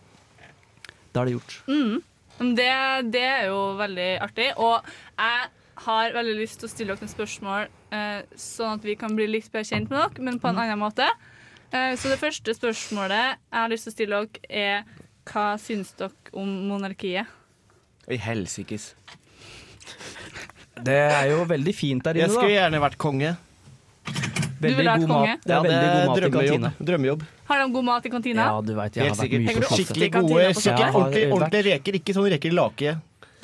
S14: Da er det gjort.
S6: Mm. Men Det, det er jo veldig artig. Og jeg har veldig lyst til å stille dere noen spørsmål, eh, sånn at vi kan bli litt bedre kjent med dere, men på
S14: Mm.
S6: en annen måte. Eh, så det første spørsmålet jeg har lyst til å stille dere, er hva syns dere om monarkiet?
S12: I helsikes.
S14: Det er jo veldig fint der inne,
S12: Jeg skulle gjerne vært konge.
S6: Veldig ville vært god mat- konge?
S14: det er veldig god mat i
S12: drømmejobb.
S14: kantina.
S12: Drømmejobb.
S6: Har de god mat i kantina?
S14: Ja, du vet, jeg
S12: Helt
S14: har vært mye
S12: sikkert.
S14: på kaffe.
S12: Skikkelig gode, skikkelig ordentlig,
S14: Jeg har vært-
S12: ordentlige reker. Ikke sånn reker i lake.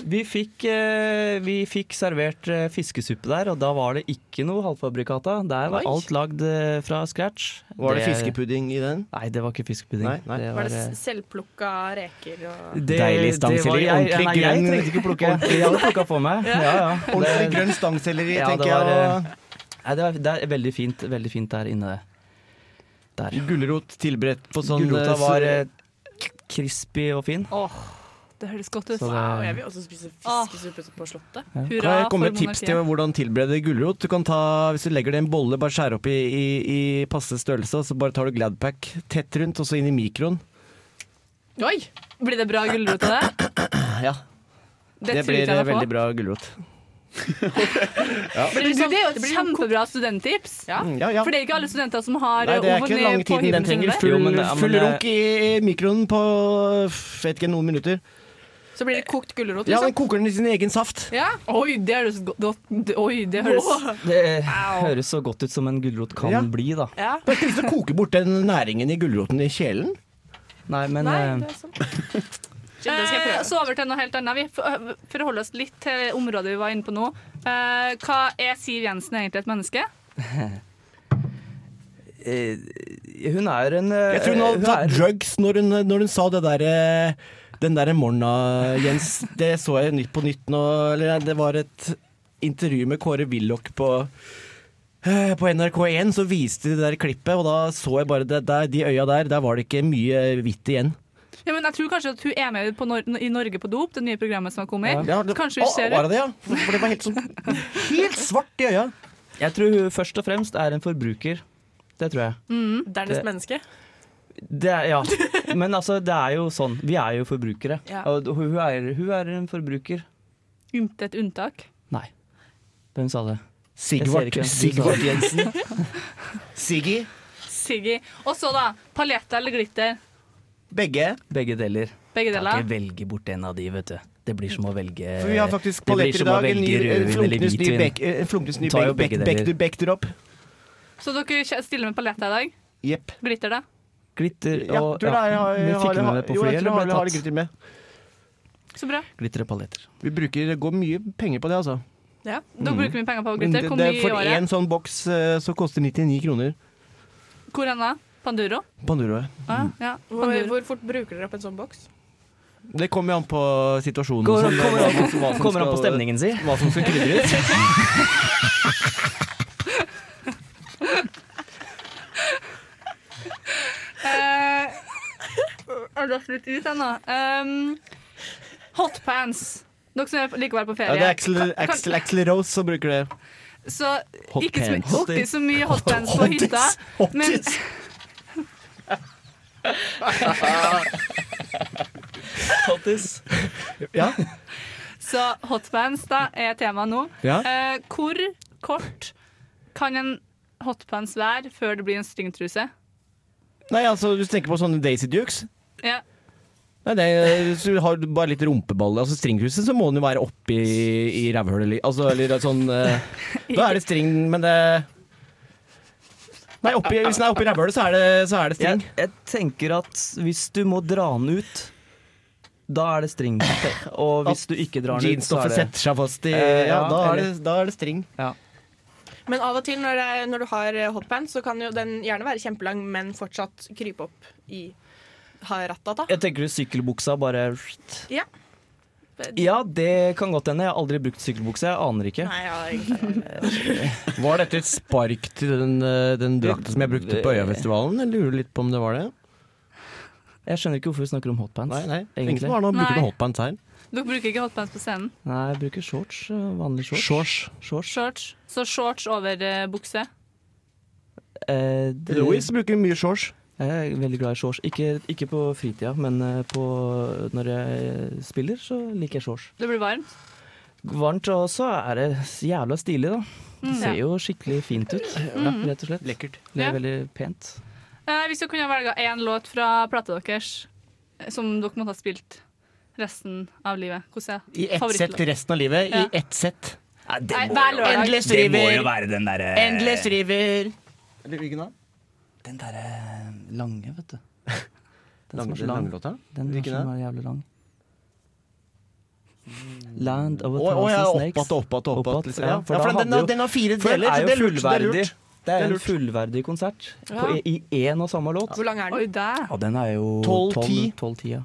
S14: Vi fikk, eh, vi fikk servert eh, fiskesuppe der, og da var det ikke noe halvfabrikata. Der var
S12: Oi.
S14: alt lagd eh, fra scratch.
S12: Var det fiskepudding i den?
S14: Nei, det var ikke fiskepudding.
S12: Nei, nei.
S14: Det
S3: Var det
S14: eh,
S3: s- selvplukka reker og
S14: det-
S12: Deilig
S14: det var
S12: stangselleri,
S14: jeg-
S12: ordentlig
S14: nei, Jeg
S12: grønn-
S14: trengte ikke plukke. Jeg hadde plukka på meg. Ja, ja.
S12: Ordentlig
S14: Det-
S12: grønn stangselleri,
S14: ja, det
S12: tenker jeg.
S14: var,
S12: og-
S14: eh, Nei, det, var, det er veldig fint, veldig fint der inne. Der.
S12: Gulrot tilberedt på sånn
S14: Gulrota
S12: eh,
S14: var eh, crispy og fin.
S6: Åh, det høres godt ut.
S14: Så det-
S3: Wow, jeg vil også spise fiskesuppe på Slottet.
S12: Ja. Kan jeg komme med tips til hvordan tilberede gulrot? Du kan ta, Hvis du legger det i en bolle, bare skjære opp i, i, i passe størrelse, og så bare tar du Gladpack tett rundt, og så inn i mikroen.
S6: Oi! Blir det bra gulrot av det?
S12: Ja, blir
S6: Det, tror ikke jeg
S12: eh,
S6: det på.
S12: veldig bra gulrot.
S6: Blir det, det er jo et kjempebra studenttips.
S12: Mm, ja, ja.
S6: For det er ikke alle studenter som har
S12: Nei, det er
S6: oven
S12: ikke
S6: i-
S12: lang
S6: på
S12: tiden den
S6: hybelen sin
S12: trenger.
S6: der.
S12: Full,
S14: Jo, men- ja, men
S12: full
S14: det-
S12: runk i mikroen på f- vet ikke, noen minutter.
S6: Så blir det kokt gulrot,
S12: Ja, den
S6: liksom?
S12: koker den i sin egen saft.
S6: Ja. Oi, det høres go- godt Oi, det høres
S12: Wow.
S14: Det
S6: Au.
S14: høres så godt ut som en gulrot kan
S12: Ja.
S14: bli, da.
S6: Ja.
S12: Du har ikke lyst til å koke bort den næringen i gulroten i kjelen?
S14: Nei, men eh,
S6: Nei, det er sant. Eh, så over til noe helt annet. Vi for- øh, forholder oss litt til området vi var inne på nå. Eh, hva er Siv Jensen egentlig et menneske?
S14: eh, Hun er en eh,
S12: Jeg tror hun hadde tatt
S14: er-
S12: drugs når hun, når hun sa det der eh, Den derre morgena, Jens. Det så jeg nytt på nytt nå. Eller det var et intervju med Kåre Willoch på eh, på NRK1 så viste de det der klippet, og da så jeg bare det der, de øya der. Der var det ikke mye hvitt igjen.
S6: Ja, men jeg tror kanskje at hun er med på Nor I Norge på dop, det nye programmet som har kommet.
S12: Ja, det-
S6: Kanskje vi
S12: Å,
S6: ser
S12: Var det det,
S6: det.
S12: ja? For det var helt sånn Helt svart i øya.
S14: Jeg tror hun først og fremst er en forbruker. Det tror jeg.
S3: Dernest
S14: Det-
S3: menneske.
S14: Det er, ja. Men altså, det er jo sånn. Vi er jo forbrukere.
S6: Ja.
S14: Og hun er, hun er en forbruker.
S6: Intet unntak.
S14: Nei. Hvem sa det?
S12: Sigvart-
S14: Jeg ser ikke hvem
S12: Sigvart
S14: som sa det.
S12: Siggy.
S6: Siggy. Og så, da. Paljetter eller glitter?
S12: Begge.
S14: Begge deler.
S6: Begge
S14: Kan
S6: deler.
S14: ikke velge bort en av de, vet du. Det blir som å velge
S12: For Eh, vi har faktisk
S14: Det blir
S12: paletter i
S14: som å
S12: dag. En ny
S14: velge
S12: en
S14: rødvin eller
S12: flunknes ny
S14: hvitvin.
S12: bek- eh, en flunknes ny
S14: Tar jo
S12: bek-
S14: begge
S12: bek-
S14: deler.
S12: bek- Bekterop.
S6: Så dere kje- stiller med paljetter i dag?
S12: Jepp.
S6: Glitter, da?
S14: Glitter
S12: Ja, tror
S14: og
S12: det er- jeg har-
S14: men
S12: jeg har-
S14: Fikk vi med det på
S12: jo, jeg tror
S14: flyet,
S12: jeg
S14: eller
S12: har- jeg har
S14: ble
S12: det
S14: det tatt?
S12: glitter med.
S6: Så bra.
S14: Glitter og paljetter.
S12: Vi bruker, det går mye penger på det, altså.
S6: Ja. Da
S12: Mm.
S6: bruker vi penger på
S12: Men
S6: glitter.
S12: det,
S6: Hvor
S12: det,
S6: mye i
S12: for én
S6: året?
S12: sånn boks eh, så koster 99 kroner.
S6: Hvor hen da? Panduro?
S12: Panduroet.
S6: Ah, ja.
S3: Hvor,
S6: Panduro.
S3: hvor fort bruker dere opp en sånn boks?
S12: Det kommer jo an på situasjonen.
S14: Går-
S12: og sånn,
S14: kommer
S12: hva
S14: an på-
S12: som- hva som
S14: kommer an på
S12: skal-
S14: stemningen si.
S12: Hva som skal krydres.
S6: Eh, Jeg har dratt litt ut ennå. Um, hotpants. Dere som er- liker å være på
S12: Ja,
S6: ferie.
S12: det er Axel,
S6: Kan- kan-
S12: Axel, Axel Rose som bruker det.
S6: Så ikke så,
S12: Hotpants.
S6: my- ikke så mye hotpants på hytta.
S12: Hottis,
S6: Men,
S14: Hottis.
S12: Ja.
S6: Så hotpants da er tema nå.
S12: Ja.
S6: Eh, hvor kort kan en hotpants være før det blir en stringtruse?
S12: Nei, altså, hvis du tenker på sånne Daisy Dukes.
S6: Ja.
S12: Nei, det, er- Hvis du har bare litt rumpeball, altså stringhuset, så må den jo være oppi i rævhølet. li- Altså, eller sånn eh, Da er det string, men det Nei, oppi, hvis den er oppi rævhølet, så er det, så er det string.
S14: Jeg, jeg tenker at hvis du må dra den ut, da er det string. Og hvis du ikke drar den ut, så er
S12: Jeansstoffet
S14: det
S12: setter seg fast i
S14: Eh,
S12: Ja, da er det,
S14: eller-
S12: da er det string.
S14: Ja.
S3: Men av og til når, det, når du har eh, hotpants, så kan jo den gjerne være kjempelang, men fortsatt krype opp i ha rattet, da.
S14: Jeg tenker du sykkelbuksa bare
S3: Ja.
S14: Ja, det kan godt hende. Jeg har aldri brukt sykkelbukse. Jeg aner ikke.
S3: Nei, ja, egentlig.
S12: Var dette et spark til den, eh, den drakta som jeg brukte på Øyafestivalen? Jeg lurer litt på om det var det.
S14: Jeg skjønner ikke hvorfor vi snakker om hotpants.
S12: Nei, nei.
S14: egentlig.
S12: Ingen som har noe bruker
S6: Nei.
S12: noe hotpants her.
S6: Dere bruker ikke hotpants på scenen.
S14: Nei, jeg bruker shorts. øh, Vanlig shorts. Shorts.
S6: Shorts. Så shorts over eh, bukse.
S14: Eh, det-
S12: Louis bruker mye shorts.
S14: Jeg er veldig glad i shorts. Ikke, ikke på fritida, men eh, på, når jeg spiller, så liker jeg shorts.
S6: Det blir varmt.
S14: Varmt, og så er det jævla stilig, da. Det
S6: Mm.
S14: ser jo skikkelig fint ut,
S6: Mm.
S14: rett og slett. Lekkert. Det
S6: Ja.
S14: er veldig pent.
S6: Eh, hvis dere kunne velge én låt fra plata deres eh, som dere måtte ha spilt resten av livet, hvordan er
S12: I ett sett
S6: favorittlåt?
S12: resten av livet.
S6: Ja.
S12: I ett sett.
S6: det Nei, må hver jo- lørdag.
S12: Endless
S6: Det
S12: driver.
S6: må
S13: jo være den derre-
S12: Endless driver. Eller hvilken da?
S14: Den derre lange, vet du. Den
S12: Lange-
S14: som er så
S12: den
S14: lang.
S12: lange låta?
S14: Den
S12: Hvilken
S14: som
S12: da?
S14: er jævlig lang. Land of a
S12: Mm. Å,
S14: thousand
S12: å, ja, opp
S14: snakes.
S12: att og opp att og opp att, liksom. Ja, for den-
S14: hadde jo-
S12: den har fire
S14: for
S12: deler, så
S14: er jo
S12: det er lurt, det er lurt.
S14: fullverdig. Det
S12: Det er
S14: er en
S12: lurt.
S14: fullverdig konsert
S3: Ja.
S14: på, i i én og samme låt.
S3: Hvor lang er den? Oi, der.
S14: Ja, den er jo
S12: Tolv,
S14: 12-10.
S12: ti.
S14: ja.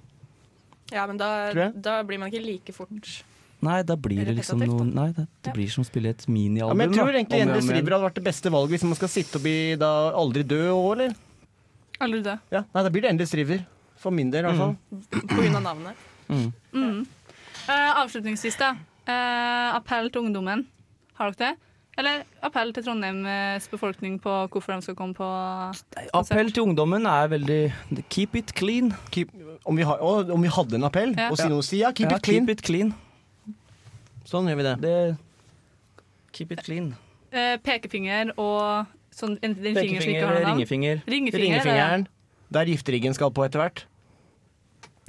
S3: Ja, men da,
S14: Tror jeg.
S3: da blir man ikke like fort.
S14: Nei, da blir det liksom noe Nei, det, det blir som å spille et minialbum.
S12: Ja, men jeg
S14: da,
S12: tror egentlig
S14: om og om
S12: Endless
S14: igjen.
S12: driver hadde vært det beste valget hvis man skal sitte og bli da aldri død òg, eller?
S6: Aldri død.
S12: Ja, nei, da blir det Endless driver. For min del, i hvert fall.
S14: Mm.
S3: På grunn av navnet.
S12: Mm.
S6: Mm. Eh, avslutningsvis, da. Eh, appell til ungdommen. Har dere det? Eller appell til Trondheims befolkning på hvorfor de skal komme på
S14: Appell til ungdommen er veldig Keep it clean.
S12: om, vi har, å, om vi hadde en appell?
S14: Ja.
S12: Og si noe si ja, keep
S14: Ja,
S12: it clean.
S14: Keep it clean.
S12: Sånn gjør vi det.
S14: Keep it clean.
S6: Eh, pekefinger og sånn en, den fingeren som ikke
S12: Pekefinger,
S6: har noe navn.
S12: ringefinger.
S6: Ringefinger,
S12: Ringefingeren. Der gifteriggen skal på etter hvert.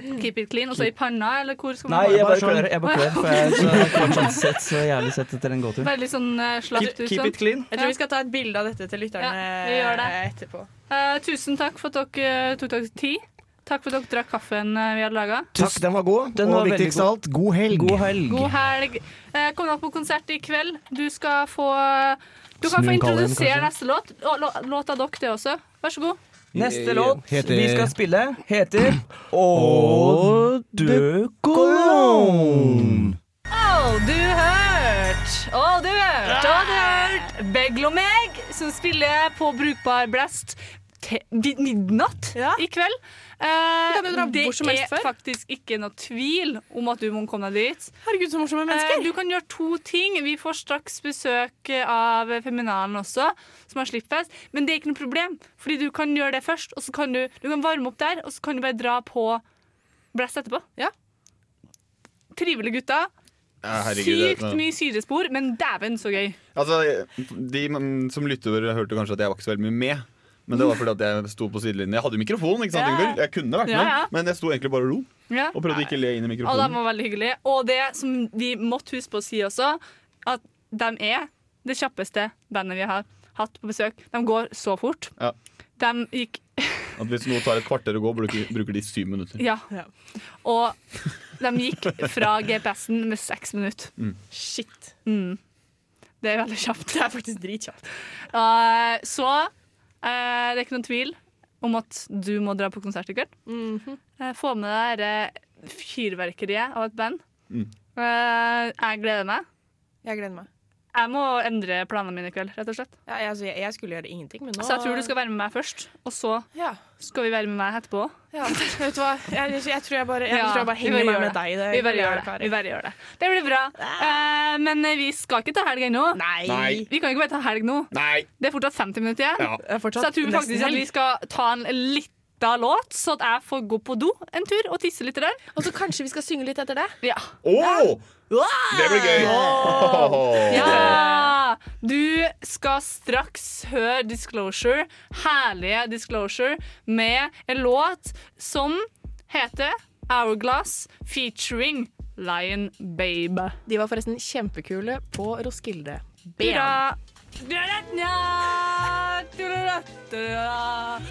S6: ja. Keep it clean. Og så i panna, eller hvor skal man
S14: Nei,
S6: ha det?
S14: jeg bare klør. Jeg
S6: Å,
S14: bare
S6: ja.
S14: klør for jeg har fortsatt sett så jævlig sett etter en gåtur.
S6: Bare litt sånn eh, slapt
S14: Keep-
S6: ut.
S14: keep
S6: sånn.
S14: it clean.
S3: Jeg tror vi skal ta et bilde av dette til lytterne
S6: Ja, vi gjør det.
S3: etterpå.
S6: Eh, tusen takk for at dere eh, tok dere tid. Takk for at dere drakk kaffen eh, vi hadde laga.
S12: Takk, den var god.
S14: Den var
S12: og
S14: veldig
S12: viktigst av
S14: god.
S12: alt, god helg.
S14: God helg.
S6: God helg. Eh, kom deg på konsert i kveld. Du skal få eh, Du kan
S12: Snu
S6: få
S12: en kalender,
S6: introdusere
S12: kanskje?
S6: neste låt. Og lå- Låt av dere, det også. Vær så god.
S14: Neste låt
S12: Heter-
S14: vi skal spille, heter Å dø kolon.
S6: Å, du hørt! Å, du hørt! Å, du hørt! Begl og meg, som spiller på Brukbar Blast til vid- midnatt i kveld. Eh,
S3: kan jo dra hvor som helst
S6: er
S3: før.
S6: faktisk ikke noe tvil om at du må komme deg dit.
S3: Herregud, så morsomme
S6: Eh, du kan gjøre to ting. Vi får straks besøk av Feminalen også, som har slippfest. Men det er ikke noe problem, fordi du kan gjøre det først. Og så kan du, du kan varme opp der, og så kan du bare dra på Blast etterpå. Trivelige gutter.
S7: Ja, herregud, det- sånn-
S6: Sykt mye syrespor, men dæven så gøy.
S7: Altså, De mm, som lytter, hørte kanskje at jeg var ikke så veldig mye med. Men det var fordi at jeg sto på sidelinjen. Jeg hadde jo mikrofon, ikke sant,
S6: Ja.
S7: Ingvild? Jeg kunne vært med,
S6: Ja, ja.
S7: men jeg sto egentlig bare og lo.
S6: Ja.
S7: Og prøvde ikke å le inn i
S6: Og de
S7: mikrofonen.
S6: var veldig hyggelige. Og det som vi måtte huske på å si også, at de er det kjappeste bandet vi har hatt på besøk. De går så fort.
S7: Ja.
S6: De gikk
S7: At hvis noe tar et kvarter å gå, bruker, bruker de syv minutter.
S6: Ja. Og de gikk fra GPS-en med seks minutter.
S7: Mm.
S3: Shit.
S6: Mm. Det er veldig kjapt.
S3: Det er faktisk dritkjapt.
S6: Eh, så eh, det er ikke noen tvil om at du må dra på konsert i kveld.
S7: Mhm.
S6: Eh, få med deg det fyrverkeriet av et band.
S7: Mm.
S6: Eh, jeg gleder meg.
S3: Jeg gleder meg.
S6: Jeg må endre planene mine i kveld, rett og slett.
S3: Ja, jeg, altså, jeg, Altså, jeg skulle gjøre ingenting, men nå
S6: Så jeg tror du skal være med meg først, og så skal vi være med meg etterpå.
S3: Ja, vet du hva? Jeg, jeg, jeg tror jeg bare, jeg,
S6: Ja,
S3: tror jeg bare
S6: vi
S3: henger
S6: bare
S3: meg
S6: gjør
S3: med deg. Det,
S6: Vi bare gjør det. Vi bare gjør det. Det blir bra. Eh, men vi skal ikke ta helg ennå.
S7: Nei.
S6: Vi kan ikke bare ta helg nå.
S7: Nei.
S6: Det er fortsatt 50 minutter igjen.
S7: Ja. Det er
S6: Så
S7: fortsatt
S6: jeg tror
S7: nesten
S6: faktisk at
S7: helg.
S6: vi skal ta en litt lita låt, så at jeg får gå på do en tur og tisse litt der.
S3: Og så kanskje vi skal synge litt etter det?
S6: Ja.
S7: Oh, det blir gøy!
S6: Ja! Du skal straks høre Disclosure, herlige Disclosure, med en låt som heter Hourglass featuring Lion Babe.
S3: De var forresten kjempekule på Roskilde. Ben.
S6: Hurra!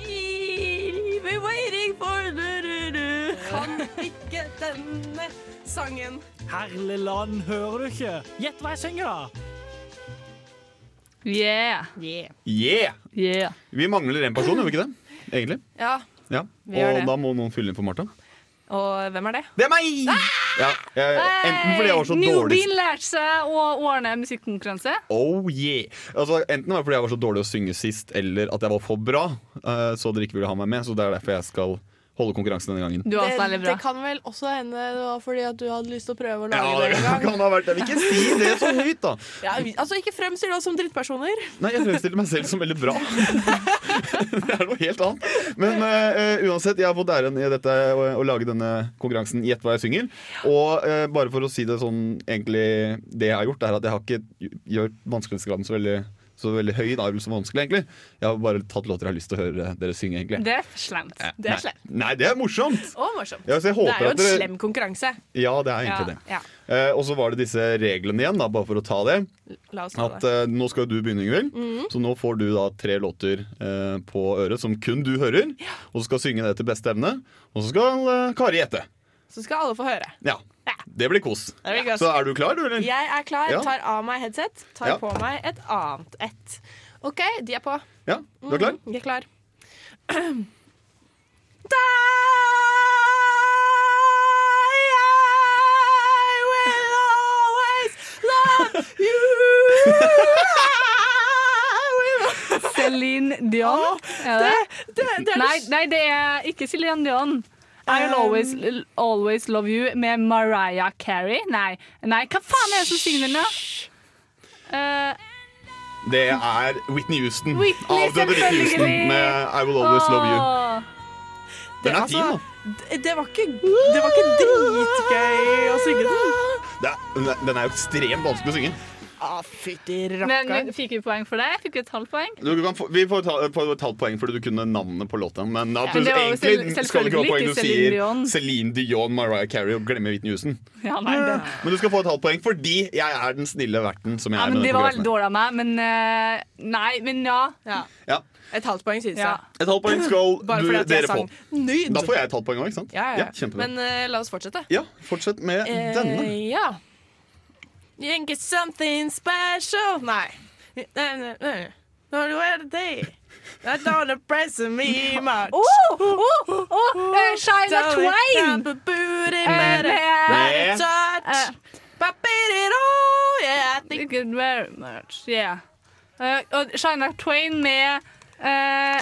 S6: We're waiting for
S3: Kan ikke denne sangen.
S15: Herlig land, hører du ikke? Gjett hva jeg synger, da!
S6: Yeah.
S7: Yeah! Vi mangler én person, gjør vi ikke det? Egentlig.
S3: Ja,
S7: Ja.
S3: Vi gjør
S7: Og
S3: det.
S7: da må noen fylle inn for Martha.
S3: og hvem er det?
S7: Det er meg! Ja, jeg, enten fordi jeg var så dårlig
S6: Ah! Newbie lærte seg å ordne musikkonkurranse.
S7: Oh yeah! Altså, enten var det fordi jeg var så dårlig å synge sist, eller at jeg var for bra, eh, så dere ikke ville ha meg med. Så det er derfor jeg skal holde konkurransen denne gangen.
S3: det, det kan vel også hende det var fordi at du hadde lyst til å prøve å
S7: Ja,
S3: lage det
S7: det
S3: en gang.
S7: kan ha vært det. Jeg vil ikke si det så høyt, da.
S3: Ja, vi- altså, ikke fremstill oss som drittpersoner.
S7: Nei, jeg fremstiller meg selv som veldig bra. Det er noe helt annet. Men eh, uansett, jeg har fått æren i dette å, å lage denne konkurransen Gjett hva jeg synger. Og eh, bare for å si det sånn, egentlig det jeg har gjort, er at jeg har ikke gjort vanskelighetsgraden så veldig så veldig høy da, eller så vanskelig, egentlig. Jeg har bare tatt låter jeg har lyst til å høre dere synge, egentlig.
S6: Det er slemt.
S7: Eh,
S3: Det er
S7: nei.
S3: slemt.
S7: Nei, det er morsomt!
S3: Og morsomt.
S7: Ja, så jeg håper
S3: det er jo
S7: at
S3: en
S7: dere-
S3: slem konkurranse.
S7: Ja, det er egentlig det.
S3: Ja.
S7: Eh, og så var det disse reglene igjen, da, bare for å ta det.
S3: La oss ta
S7: At
S3: det.
S7: eh, Nå skal jo du begynne, Ingvild.
S3: Mhm.
S7: Så nå får du da tre låter eh, på øret som kun du hører. Og så skal synge det til beste evne. Og så skal eh, Kari gjette.
S3: Så skal alle få høre.
S7: Ja. Det blir kos.
S3: Det blir gøy.
S7: Så er du klar, du, eller?
S3: Jeg er klar.
S7: Ja.
S3: Tar av meg headset, tar
S7: Ja.
S3: på meg et annet ett. OK, de er på.
S7: Ja, du er klar?
S3: Mm, jeg er klar.
S6: Celine Dion. Er Um. det?
S3: det er-
S6: nei, nei, det er ikke Celine Dion. I will always, always love you med Mariah Carey. Nei, nei hva faen er det som synger den, da? Eh,
S7: Det er Whitney Houston.
S6: Whitney,
S7: Avdøde Whitney
S6: selvfølgelig.
S7: Houston med I Will Always Love You.
S6: åh.
S7: Den er fin, da.
S3: Altså, Det, det, var ikke, det var ikke dritgøy å synge den.
S7: Det er, den er jo ekstremt vanskelig å synge.
S3: Ah, Fytti
S6: Men
S3: rakkeren.
S6: fikk vi poeng for det? Fikk vi et halvt poeng?
S7: Du kan få, vi får ta, får et halvt poeng fordi du kunne navnet på låta. Men at
S6: Ja,
S7: du
S6: men det var jo
S7: egentlig
S6: selv-
S7: skal du ikke ha poeng
S6: selvfølgelig ikke
S7: du sier
S6: Celine Dion.
S7: Celine Dion, Mariah Carey og glemmer Whitney Houston.
S6: Ja, nei, det.
S7: Men du skal få et halvt poeng fordi jeg er den snille verten som jeg
S6: Ja,
S7: er.
S6: men
S7: med
S6: det
S7: denne
S6: var
S7: konkurransen
S6: veldig
S7: her.
S6: dårlig av meg, men eh, Nei, men ja.
S7: Ja.
S3: Et halvt poeng, synes
S6: Ja.
S3: jeg.
S7: Et halvt poeng skal
S3: Bare
S7: du,
S3: fordi at jeg
S7: dere få.
S3: sang nyd.
S7: Da får jeg et halvt poeng òg, ikke sant?
S3: Ja, ja.
S7: kjempebra.
S3: Men eh, la oss fortsette.
S7: ja, fortsett med
S3: Eh,
S7: denne.
S3: ja. You ain't get something special. Nei. Nei, nei, nei. Don't you wear the day. That don't impress me much.
S6: Oh, oh, oh, eh, Shania
S3: Don't
S6: Twain.
S3: it have a booty,
S6: Eh,
S3: but a-
S6: eh,
S3: but a touch. But beat it all, yeah, I think-
S6: Thank you very much. Yeah. Eh, og Shina Twain med uh,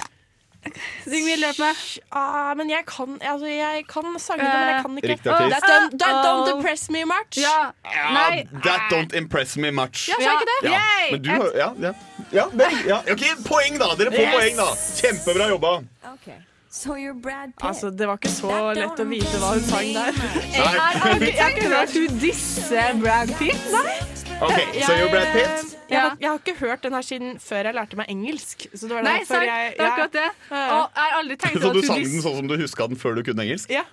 S6: Ingvild, hjelp meg.
S3: Ah, men jeg kan, altså, jeg kan sangene, men jeg kan ikke. Um,
S7: Riktig artist.
S3: That don't, that don't
S6: Oh.
S3: impress me much.
S6: Ja.
S7: Ja,
S6: Nei.
S7: That don't impress me much.
S3: Ja, sa jeg ikke det?
S7: Ja.
S3: Yay!
S7: Men du har ja, ja. Ja, det, ja. OK, poeng, da! Dere får
S3: Yes!
S7: poeng, da. Kjempebra jobba.
S3: Altså, det var ikke så lett å vite hva hun sang der.
S6: Jeg har ikke- jeg har ikke hørt hun disse Brad Pitt. Nei.
S7: OK, so
S3: Jeg-
S7: you're Brad Pitt.
S3: Jeg, har- jeg har ikke hørt den her siden før jeg lærte meg engelsk. Så det var
S6: Nei,
S3: derfor
S6: sant.
S3: jeg,
S6: Det er akkurat det. Og jeg har aldri tenkt
S7: Så
S6: over
S7: du
S6: at
S7: sang
S6: hun
S7: den sånn som du huska den før du kunne engelsk?
S3: Ja.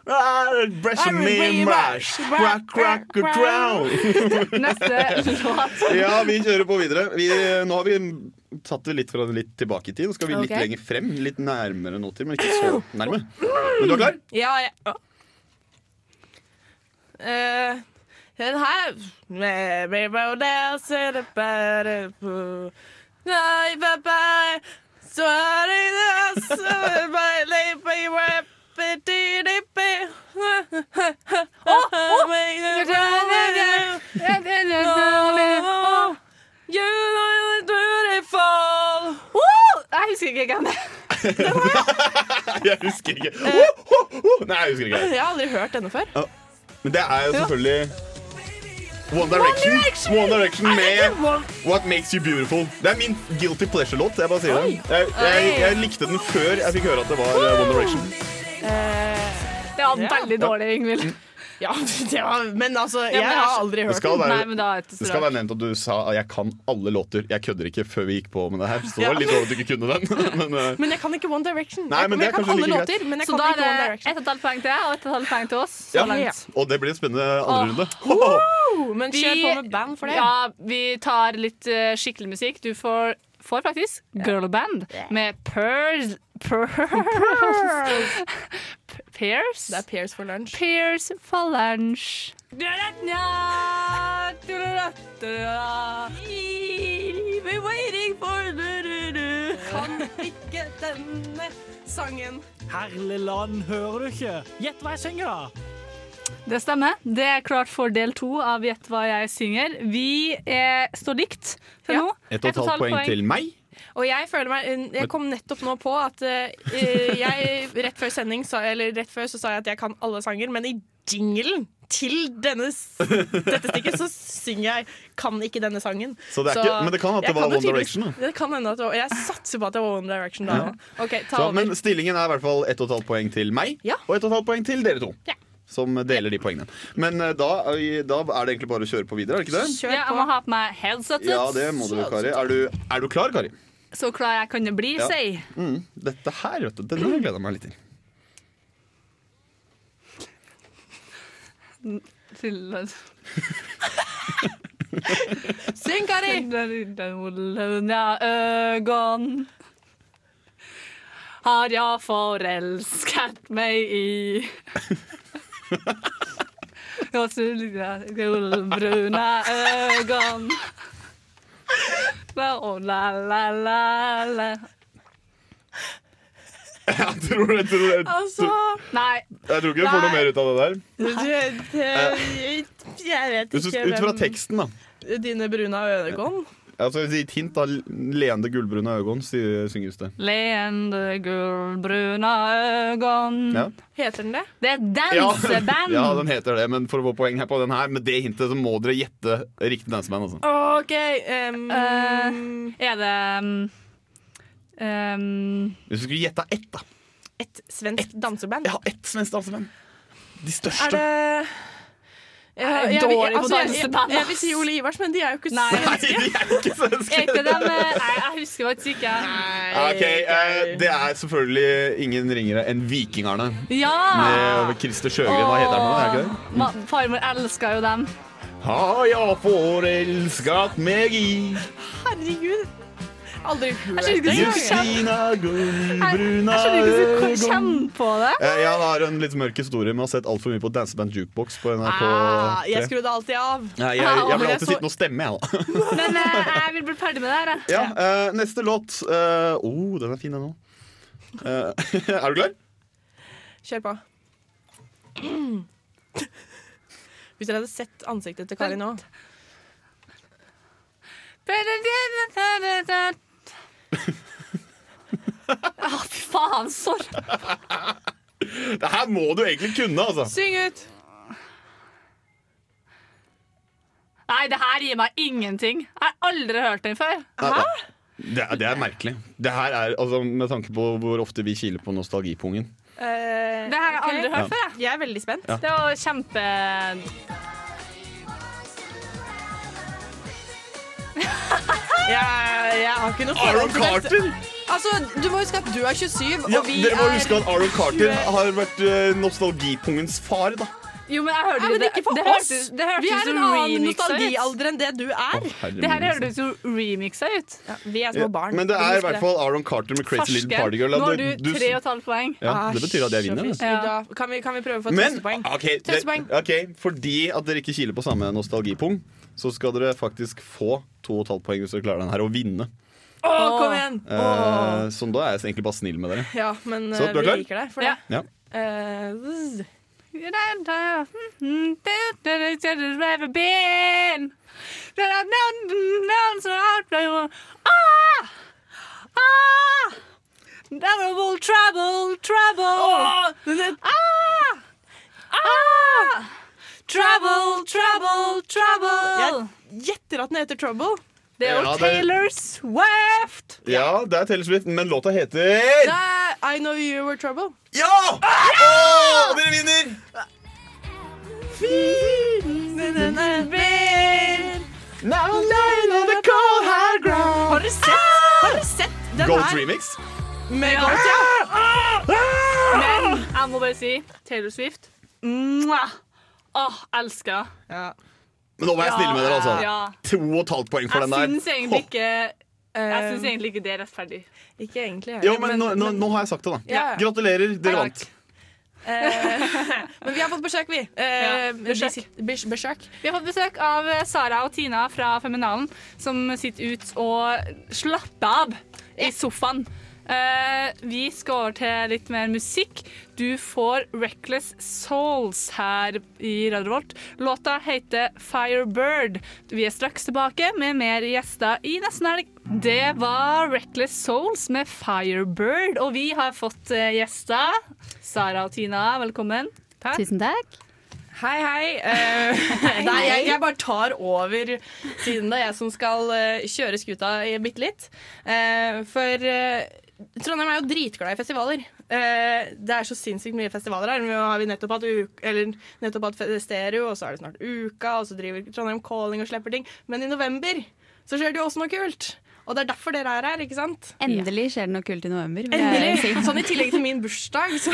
S7: Breast me mash, crack, crack, drown.
S6: Neste låt.
S7: Ja, vi kjører på videre. Vi, nå har vi tatt det litt, fra, litt tilbake i tid. Nå skal vi litt
S3: Ok.
S7: lenger frem. Litt nærmere nåtid, men ikke så nærme. Men du er klar?
S3: Ja, jeg ja. Eh, Den her Maybe we'll dance in a better pool. Nei, bye, bye. Så er det det, så er det bare litt på i rap. You know you're beautiful.
S6: Jeg husker ikke hvem det
S7: Jeg husker ikke. Oh, oh, oh. Nei, jeg husker
S3: Jeg
S7: ikke.
S3: har aldri hørt denne før.
S7: Men det er jo selvfølgelig One Direction,
S16: Direction!
S7: One Direction
S16: I
S7: med
S16: like One-
S7: What Makes You Beautiful. Det er min guilty pleasure-låt. Jeg bare sier det.
S3: Oi.
S7: Jeg, jeg,
S3: Oi.
S7: jeg likte den før jeg fikk høre at det var eh, One Direction.
S3: Det
S6: var veldig dårlig, Ingvild.
S3: Ja, det var, men altså,
S6: men
S3: jeg
S6: det er
S3: har
S6: så-
S3: aldri
S7: Det
S3: hørt
S7: skal
S3: den.
S7: være,
S3: Nei, men da er det
S7: det
S3: så
S7: skal
S3: rart.
S7: være nevnt at du sa at jeg kan alle låter. Jeg kødder ikke før vi gikk på med det her. Så det
S3: Ja.
S7: var litt dårlig at du ikke kunne den. Men, eh,
S3: Men jeg kan ikke One Direction.
S7: Nei,
S3: jeg,
S7: men
S3: kan-
S7: det er
S3: jeg kan
S7: kanskje
S3: alle
S7: like greit.
S3: låter, men jeg
S6: Så
S3: kan
S6: da
S3: ikke One
S6: er det
S3: Direction.
S6: ett og et halvt poeng til deg og ett og et halvt poeng til oss. Så
S7: ja.
S6: langt.
S7: Og det blir en spennende
S6: Åh.
S7: andre runde.
S3: Men kjør på med band for det.
S6: Ja, vi tar litt eh, skikkelig musikk. Du får, får faktisk girlband med Pearls Pearls Pears? Det
S3: er Pears for lunsj.
S6: Pears for lunsj.
S3: Kan ikke denne sangen.
S15: Herlig land, hører du ikke? Gjett hva jeg synger, da!
S6: Det stemmer. Det er klart for del to av Gjett hva jeg synger. Vi eh, står likt til nå.
S7: Ett og et halvt poeng til meg.
S3: Og jeg føler meg Jeg kom nettopp nå på at eh, jeg Rett før sending sa, Eller rett før så sa jeg at jeg kan alle sanger, men i jinglen til denne, s- dette stikket så synger jeg 'Kan ikke denne sangen'.
S7: Så det er ikke- men det kan at det
S3: jeg
S7: var
S3: kan jo
S7: One
S3: tydeligvis-
S7: Direction, da.
S3: Det kan hende at det var, jeg satser på at det var One Direction da.
S7: Ja.
S3: OK, ta
S7: Så,
S3: over.
S7: men stillingen er i hvert fall ett og et halvt poeng til meg, og ett og et halvt poeng til dere to. Som deler de poengene. Men eh, da, er- da er det egentlig bare å kjøre på videre, er det ikke det?
S6: Ja, jeg må ha på meg headsetet.
S7: Ja, det må du, Kari. Er du, er du klar, Kari?
S6: Så klar jeg kan det bli,
S7: Ja.
S6: si.
S7: Mm, dette her, vet du. Denne har jeg gleda meg litt til.
S6: Til
S3: Syng, Kari!
S6: Lønja øgon har jeg forelsket meg i. Og så ligger jeg gullbrune øgon. La, å, la, la, la, la.
S7: Jeg tror, jeg tror, jeg,
S6: Altså Nei.
S7: jeg tror ikke du får noe mer ut av det der.
S3: Jeg vet
S7: Hvis du,
S3: ikke
S7: ut fra teksten, da.
S3: Dine brune øyne
S7: Altså, Gi et hint, da. Leende gullbrune øyne, sier- synges det.
S6: Leende gullbrune øgon.
S7: Ja.
S3: Heter den det?
S6: Det er Mm. danseband.
S7: ja, den heter det, men for å få poeng her på den her, med det hintet så må dere gjette riktig danseband. Altså.
S3: OK
S6: Er det um, um,
S7: Hvis du skulle gjette ett, da.
S3: Et svensk danseband?
S7: Ja, ett svensk danseband. De
S3: Er
S7: største.
S3: det
S6: Jeg er dårlig på
S3: altså, jeg-
S6: danseband,
S3: Jeg, jeg vil si Ole Ivars, men de er jo ikke
S6: Nei. Er ikke
S3: svenske.
S6: dem eh, Nei, jeg husker faktisk ikke.
S7: Ok, eh, Det er selvfølgelig ingen ringere enn Vikingerne.
S6: Ja!
S7: Med Christer Sjøgren, hva heter han? nå, Er det ikke det?
S6: Ma farmor elska jo dem.
S7: Har jeg forelsket meg i
S3: Herregud. Aldri hørt
S6: skjønner ikke
S3: det
S6: hvordan du
S3: engang.
S7: Justina Gullbruna
S6: Jeg skjønner ikke så hvor kjenner på det.
S7: Eh, Jeg har en litt mørk historie med å ha sett altfor mye på Danseband Jukebox på NRK3.
S3: Ah, jeg skrudde alltid av.
S7: Nei, jeg, jeg blir
S3: Ah,
S7: alltid sittende og stemme, jeg, da.
S6: Men eh, jeg vil bli ferdig med det her. jeg.
S7: Ja, eh, neste låt. Uh, oh, den er fin, den òg. er du klar?
S3: Kjør på. Hvis dere hadde sett ansiktet til Kari nå
S6: Å, fy faen, sorry.
S7: Det her må du egentlig kunne, altså.
S3: Syng ut!
S6: Nei, det her gir meg ingenting. Jeg har aldri hørt den før.
S7: Hæ? Det, er- det er merkelig. Det her er, altså, Med tanke på hvor ofte vi kiler på nostalgipungen.
S6: Det her har jeg aldri
S3: ok.
S6: hørt før.
S3: Eh, Jeg er veldig spent.
S7: Ja.
S6: Det var kjempe...
S3: Jeg, jeg har ikke noe
S7: Aaron
S3: forhold til dette.
S7: Carter?
S3: Altså, Du må huske at du er 27,
S7: Ja,
S3: og vi
S7: dere må
S3: er
S7: huske at Aaron Carter
S3: 20.
S7: har vært eh, nostalgipungens far, da.
S6: Jo, men jeg hørte
S3: Nei,
S6: jo
S3: men
S6: det.
S3: ikke for
S6: det
S3: oss!
S6: hørtes- det hørtes
S3: vi er
S6: som
S3: en annen
S6: remixer ut.
S3: nostalgialder enn det du er.
S7: herre
S6: Det her
S7: min,
S6: høres jo remixa ut.
S3: vi
S7: Ja, Men det er i hvert fall Aaron Carter med Crazy Little Party Girl. da.
S6: Nå har du tre og et halvt poeng.
S7: Ja, det betyr at jeg vinner, det.
S3: Ja. Kan, vi, kan vi prøve å få et
S7: Men Ah,
S3: trøstepoeng?
S7: ok, det,
S3: Trøstepoeng.
S7: ok, fordi at dere ikke kiler på samme nostalgipung, så skal dere faktisk få to og et halvt poeng hvis dere klarer den her, og vinne.
S3: Å, kom igjen!
S7: Eh, så da er jeg egentlig bare snill med dere.
S3: Ja, men
S7: Så,
S3: eh,
S7: du er
S3: vi
S7: klar?
S3: liker deg for det.
S7: Ja.
S3: Eh, zzz.
S6: mm, Ah! Ah! Double trouble, trouble. Ah! Ah! Trouble, trouble, trouble.
S3: Jeg gjetter at den heter Trouble.
S7: Det er jo Ja, det- Taylor
S3: Swift.
S7: Ja, det er Taylor Swift, men låta heter
S3: Det er Eh, I Know You Were Trouble.
S7: Ja! Å, dere vinner!
S3: eh, Har dere sett?
S6: Ah!
S3: Har dere sett den
S7: Goat
S3: her?
S7: remix.
S3: Med Goat, ja.
S6: Men jeg må bare si Taylor Swift. Mwah. Åh, elsker.
S7: Men nå var jeg
S6: Ja,
S7: stille med dere, altså.
S6: ja.
S7: To og et halvt poeng for
S6: Jeg
S7: den
S6: syns
S7: der.
S6: egentlig
S7: Hå.
S6: ikke eh, Jeg syns egentlig ikke det er rettferdig.
S3: Ikke egentlig.
S7: Jo, men nå, nå, nå har jeg sagt det, da.
S3: Ja.
S7: Gratulerer,
S3: Takk.
S7: dere vant.
S3: Men vi har fått besøk, vi. Eh,
S6: Ja,
S3: de
S6: besøk.
S3: sit- bes- besøk.
S6: Vi har fått besøk av Sara og Tina fra Feminalen, som sitter ut og slapper av i sofaen. Eh, vi skal over til litt mer musikk. Du får Reckless Souls her i Radio Volt. Låta heter Firebird. Vi er straks tilbake med mer gjester i nesten helg. Det var Reckless Souls med Firebird, og vi har fått eh, gjester. Sara og Tina, velkommen.
S16: Tusen takk.
S3: Hei, hei. Eh, nei, jeg, jeg bare tar over siden det er jeg som skal eh, kjøre skuta i bitte litt. Eh, for eh, Trondheim er jo dritglad i festivaler. Eh, det er så sinnssykt mye festivaler her. Nå har vi nettopp hatt, uk eller, nettopp hatt fe- Stereo, og så er det snart Uka, og så driver Trondheim Calling og slipper ting. Men i november så skjer det jo også noe kult. Og det er derfor dere er her, ikke sant?
S16: Endelig skjer det noe kult i november. vil jeg si.
S3: Endelig. Sånn i tillegg til min bursdag, så,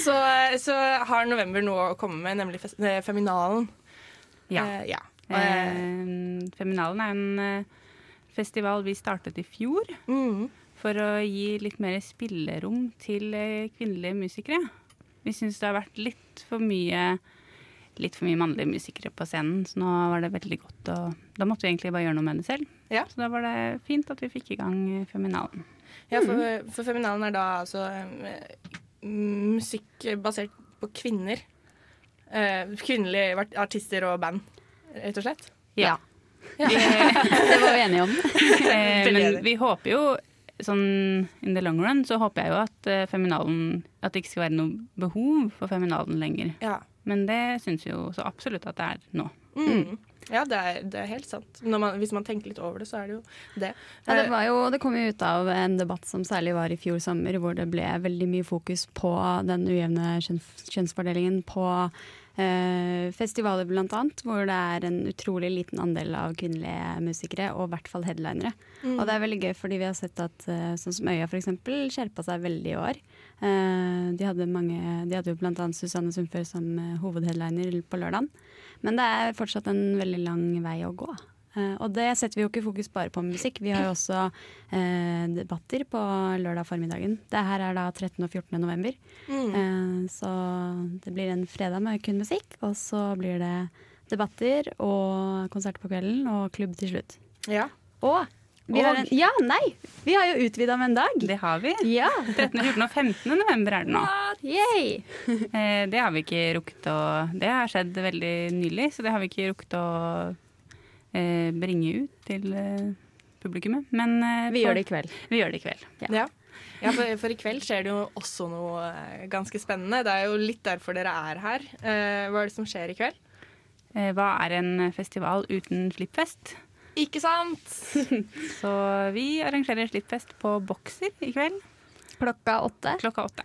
S3: så, eh, så har november noe å komme med, nemlig fes- eh, Feminalen.
S16: Ja.
S3: Eh, ja.
S16: Eh, Feminalen er en eh, festival vi startet i fjor for å gi litt mer spillerom til eh, kvinnelige musikere. Vi syns det har vært litt for mye litt for mye mannlige musikere på scenen, så nå var det veldig godt å Da måtte vi egentlig bare gjøre noe med det selv. Så da var det fint at vi fikk i gang eh, Feminalen.
S3: Ja, for,
S16: Mm.
S3: for Feminalen er da altså eh, musikk basert på kvinner. Eh, kvinnelige vart- artister og band, rett og slett.
S16: Ja. det var vi enige om. Eh,
S3: Veldig
S16: Men
S3: enig.
S16: vi håper jo, sånn in the long run, så håper jeg jo at eh, feminalen At det ikke skal være noe behov for feminalen lenger. Men det syns vi jo så absolutt at det er nå.
S3: Mm. Ja, det er, det er helt sant. Når man, hvis man tenker litt over det, så er det jo det. Eh,
S16: Ja, det, var jo, det kom jo ut av en debatt som særlig var i fjor sommer, hvor det ble veldig mye fokus på den ujevne kjønns- kjønnsfordelingen på eh, festivaler bl.a., hvor det er en utrolig liten andel av kvinnelige musikere, og i hvert fall headlinere.
S9: Mm.
S16: Og det er veldig gøy, fordi vi har sett at eh, sånn som Øya f.eks. skjerpa seg veldig i år. Eh, de hadde, mange, de hadde jo bl.a. Susanne Sundfør som eh, hovedheadliner på lørdagen. Men det er fortsatt en veldig lang vei å gå. Eh, og det setter vi jo ikke fokus bare på musikk. Vi har jo også eh, debatter på lørdag formiddagen. Det her er da 13. og 14. november.
S9: Mm.
S16: Eh, så det blir en fredag med kun musikk, og så blir det debatter og konserter på kvelden og klubb til slutt.
S3: Ja.
S16: Og vi har en,
S3: Og-
S16: ja, nei! Vi har jo utvida med en dag. Det har vi. Ja, 13., 14. og 15. november er det nå. Yay! Eh, Det har vi ikke rukket å Det har skjedd veldig nylig, så det har vi ikke rukket å eh, bringe ut til eh, publikummet. Men eh,
S3: Vi gjør det i
S16: kveld. Vi gjør det i kveld.
S3: Ja. Ja, for, for i kveld skjer det jo også noe eh, ganske spennende. Det er jo litt derfor dere er her. Eh, hva er det som skjer i kveld?
S16: Eh, Hva er en festival uten slippfest?
S3: Ikke sant?
S16: Så vi arrangerer slippfest på Bokser i kveld. Klokka åtte. Mm. Klokka åtte.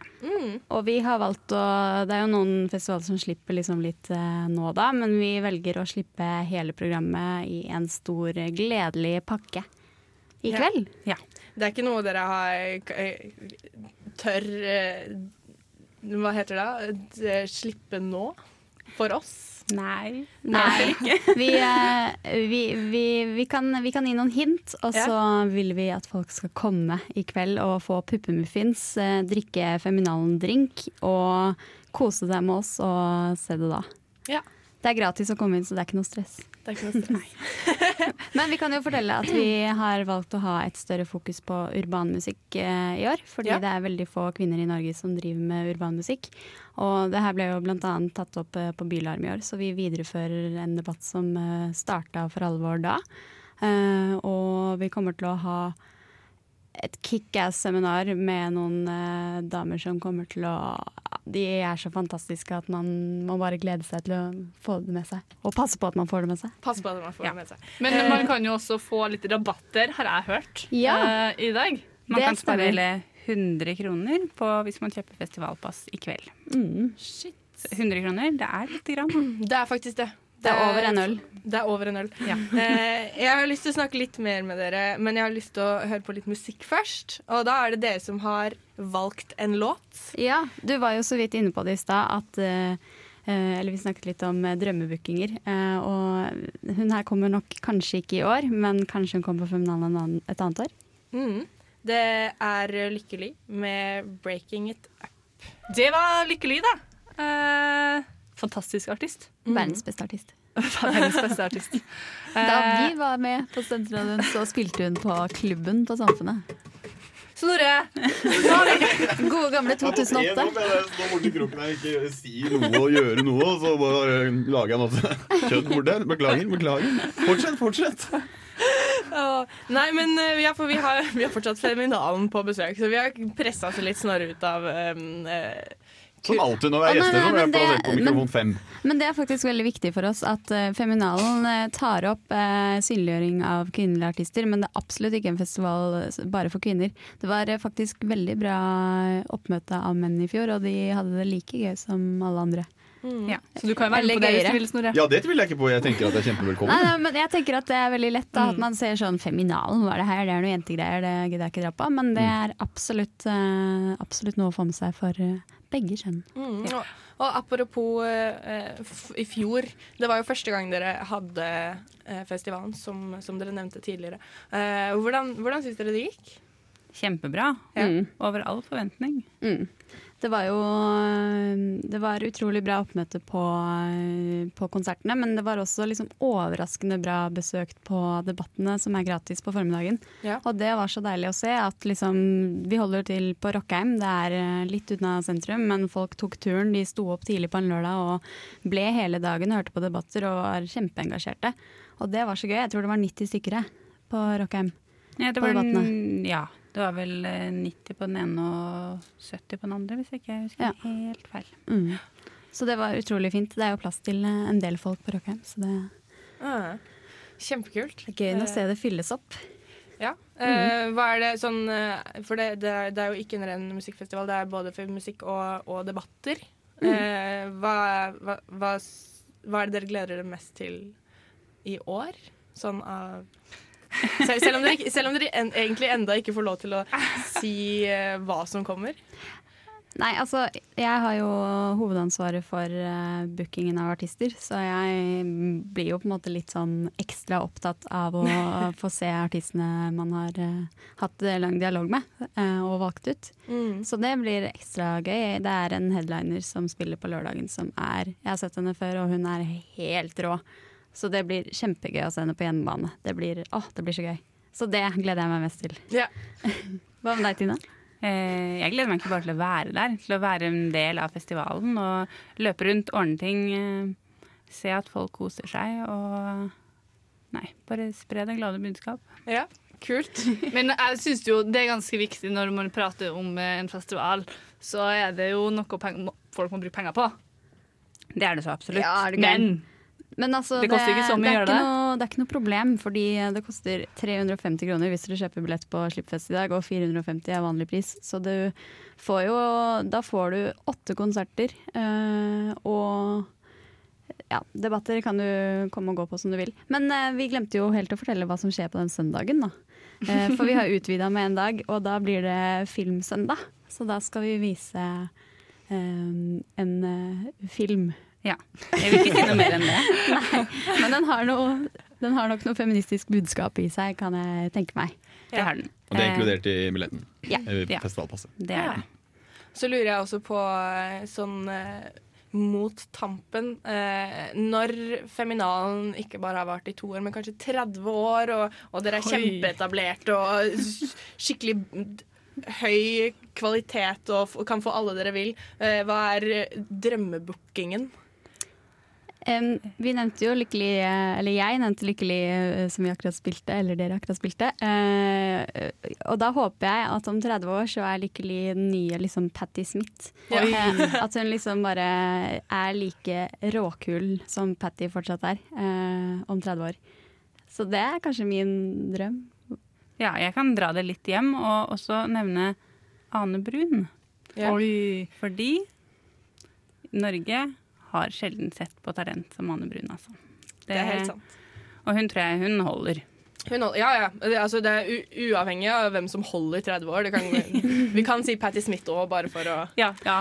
S16: Og vi har valgt å Det er jo noen festivaler som slipper liksom litt eh, nå da, men vi velger å slippe hele programmet i en stor eh, gledelig pakke i
S3: Ja.
S16: kveld. Ja.
S3: Det er ikke noe dere har eh, tør eh, Hva heter det? da? Eh, Slippe nå? For oss?
S16: Nei. vi, eh, vi, vi, vi, kan, vi kan gi noen hint, og så vil vi at folk skal komme i kveld og få puppemuffins, eh, drikke Feminalen-drink og kose seg med oss og se det da.
S3: Ja.
S16: Det er gratis å komme inn, så det er ikke noe stress.
S3: Det er ikke noe stress.
S16: Men vi kan jo fortelle at vi har valgt å ha et større fokus på urbanmusikk eh, i år. Fordi
S3: Ja.
S16: det er veldig få kvinner i Norge som driver med urbanmusikk. Og det her ble jo bl.a. tatt opp eh, på Bylarm i år, så vi viderefører en debatt som Eh, starta for alvor da. Eh, Og vi kommer til å ha
S17: et kickass-seminar med noen eh, damer som kommer til å De er så fantastiske at man må bare glede seg til å få det med seg. Og passe på at man får det med seg.
S3: Pass på at man får det med seg.
S6: Men
S17: Eh,
S6: man kan jo også få litt rabatter, har jeg hørt,
S18: Ja.
S6: eh, i dag.
S18: Man kan spare
S6: stemmer.
S18: hele 100 kroner på, hvis man kjøper festivalpass i kveld.
S17: Mm.
S3: Shit.
S18: 100 kroner, det er lite grann.
S3: Det er faktisk det.
S18: Det er over en øl.
S3: Det er over en øl. Eh, jeg har lyst til å snakke litt mer med dere, men jeg har lyst til å høre på litt musikk først. Og da er det dere som har valgt en låt.
S17: Ja, du var jo så vidt inne på det i stad at eh, eh, Eller vi snakket litt om eh, drømmebookinger. eh, og hun her kommer nok kanskje ikke i år, men kanskje hun kommer på Feminalen en annen- et annet år.
S3: Mm. Det er Lykkelig med 'Breaking It Up'.
S6: Det var lykkelig, da. Eh, fantastisk artist.
S16: Mhm.
S17: Verdens beste artist.
S6: Verdens beste artist.
S16: Da
S18: Eh,
S16: vi var med på Studentradioen, så spilte hun på klubben på Samfunnet.
S6: Snorre!
S16: Gode gamle 2008.
S7: Nå borti kroken her, ikke si noe og gjøre noe, og så bare eh, lager jeg masse kjøtt borti der. Beklager, beklager. Fortsett, fortsett.
S3: Åh, Nei, men eh, ja, for vi, har, vi har fortsatt Feminalen på besøk, så vi har pressa oss litt Snorre ut av um,
S7: Som alltid når vi er
S16: Å, nei,
S7: gjester,
S16: nei,
S7: så blir jeg
S16: men det-
S7: plassert på mikrofon fem.
S16: Men det er faktisk veldig viktig for oss at eh, Feminalen eh, tar opp eh, synliggjøring av kvinnelige artister, men det er absolutt ikke en festival eh, bare for kvinner. Det var eh, faktisk veldig bra eh, oppmøte av menn i fjor, og de hadde det like gøy som alle andre.
S6: Ja. Mm. Så du kan jo være
S16: Eller
S6: med på det hvis
S16: gøyere.
S6: du vil, Snorre.
S7: Ja, det tviler jeg ikke på. Jeg tenker at det er
S16: Nei,
S7: kjempevelkommen.
S16: nei, men jeg tenker at det er veldig lett
S6: Mm.
S16: da, at man ser sånn Feminalen, hva er det her, det er noe jentegreier, det gidder jeg ikke dra på. Men det er absolutt, eh, absolutt noe å få med seg for eh, begge kjønn.
S3: Mm, og, og apropos eh, f i fjor, det var jo første gang dere hadde eh, festivalen, som, som dere nevnte tidligere. Eh, hvordan hvordan syns dere det gikk?
S18: Kjempebra.
S3: Ja.
S18: Over all forventning.
S16: Mm. Det var jo øh, Det var utrolig bra oppmøte på, øh, på konsertene, men det var også liksom overraskende bra besøkt på debattene, som er gratis på formiddagen.
S3: Ja.
S16: Og det var så deilig å se at liksom Vi holder til på Rockheim, det er øh, litt unna sentrum, men folk tok turen. De sto opp tidlig på en lørdag og ble hele dagen og hørte på debatter og var kjempeengasjerte. Og det var så gøy. Jeg tror det var 90 stykker jeg, på Rockheim.
S18: Ja, det
S16: på
S18: var,
S16: debattene.
S18: den- ja, det var vel eh, 90 på den ene og 70 på den andre, hvis ikke jeg husker helt feil.
S16: Mm. Så det var utrolig fint. Det er jo plass til eh, en del folk på Rockheim, så det
S3: Ah, kjempekult. Eh,
S16: det er gøy å se det fylles opp.
S3: Ja. Eh, hva er det sånn eh, For det, det, er, det er jo ikke en ren musikkfestival, det er både for musikk og, og debatter. Eh, hva, hva, hva, s- hva er det dere gleder dere mest til i år? Sånn av Sel- selv, om dere, ikke- selv om dere en, egentlig enda ikke får lov til å si eh, hva som kommer.
S16: Nei, altså, jeg har jo hovedansvaret for eh, bookingen av artister, så jeg blir jo på en måte litt sånn ekstra opptatt av å få se artistene man har eh, hatt lang dialog med eh, og valgt ut.
S3: Mm.
S16: Så det blir ekstra gøy. Det er en headliner som spiller på lørdagen som er Jeg har sett henne før, og hun er helt rå. Så det blir kjempegøy å se henne på hjemmebane. Det blir, åh, det blir så gøy. Så det gleder jeg meg mest til.
S3: Ja.
S16: Hva med deg, Tina?
S18: Eh, Jeg gleder meg ikke bare til å være der, til å være en del av festivalen og løpe rundt, ordne ting, eh, se at folk koser seg og Nei, bare spre det glade budskap.
S3: Ja, kult.
S6: Men jeg syns jo det er ganske viktig når man prater om eh, en festival, så er det jo noe peng folk må bruke penger på.
S18: Det er det så absolutt.
S16: Ja, er du gæren?
S6: Men
S16: Men altså,
S6: Det koster ikke så mye
S16: det,
S6: å
S16: er
S6: gjøre det.
S16: ikke noe, det er ikke noe problem, fordi eh, det koster 350 kroner hvis du kjøper billett på Slippfest i dag, og 450 er vanlig pris. Så du får jo Da får du åtte konserter, eh, og ja, debatter kan du komme og gå på som du vil. Men eh, vi glemte jo helt å fortelle hva som skjer på den søndagen, da. Eh, for vi har utvida med en dag, og da blir det filmsøndag. Så da skal vi vise eh, en eh, film.
S18: Ja. Jeg vil ikke si noe mer enn det.
S16: Nei, men den har, noe, den har nok noe feministisk budskap i seg, kan jeg tenke meg.
S18: Det har den.
S7: Og det er inkludert i billetten.
S16: Ja.
S7: Eh,
S16: Ja.
S7: Festivalpasset.
S18: Det er det.
S3: Så lurer jeg også på eh, sånn eh, mot tampen eh, Når feminalen ikke bare har vart i to år, men kanskje 30 år, og, og dere er
S18: Oi.
S3: kjempeetablert og s- skikkelig d- høy kvalitet og f kan få alle dere vil, eh, hva er eh, drømmebookingen?
S16: Em, vi nevnte jo lykkelig eh, Eller jeg nevnte lykkelig eh, som vi akkurat spilte, eller dere akkurat spilte. Eh, eh, og da håper jeg at om 30 år så er lykkelig den nye liksom Patti Smith.
S3: Ja.
S16: Eh, at hun liksom bare er like råkul som Patti fortsatt er eh, om 30 år. Så det er kanskje min drøm.
S19: Ja, jeg kan dra det litt hjem og også nevne Ane Brun.
S6: Ja.
S19: Fordi Norge har sjelden sett på talent som Ane Brun, altså.
S3: Det er helt sant.
S19: Og hun tror jeg hun holder.
S3: Hun holder, ja, ja. Det, altså, det er u uavhengig av hvem som holder 30 år. Det kan, vi kan si Patti Smith òg, bare for å
S19: Ja.
S16: Ja.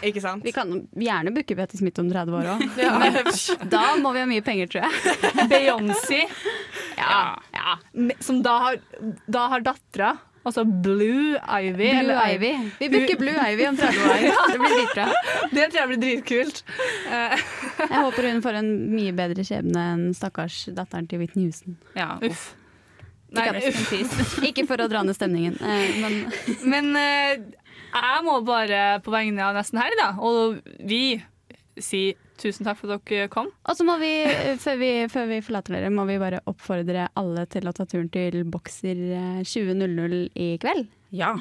S3: Ikke sant?
S16: Vi kan gjerne booke Petter Smith om 30 år òg.
S3: Ja.
S16: Da må vi ha mye penger, tror jeg.
S6: Beyoncé. Ja, ja. Me- Som da har, da har dattera, altså Blue Ivy.
S16: Blue Ivy. Vi booker Blue Ivy om 30 år. Det blir dritbra.
S6: Det tror jeg blir dritkult. Eh,
S16: Jeg håper hun får en mye bedre skjebne enn stakkars datteren til Whitney Houston.
S19: Ja,
S6: uff.
S16: Ikke,
S6: Nei,
S16: at-
S6: uff.
S16: ikke for å dra ned stemningen, eh, men
S6: Men eh, jeg må bare på vegne av nesten her, da, og vi, si tusen takk for at dere kom.
S16: Og så må vi, eh, før vi, før vi forlater dere, må vi bare oppfordre alle til å ta turen til Bokser eh, 20.00 i kveld.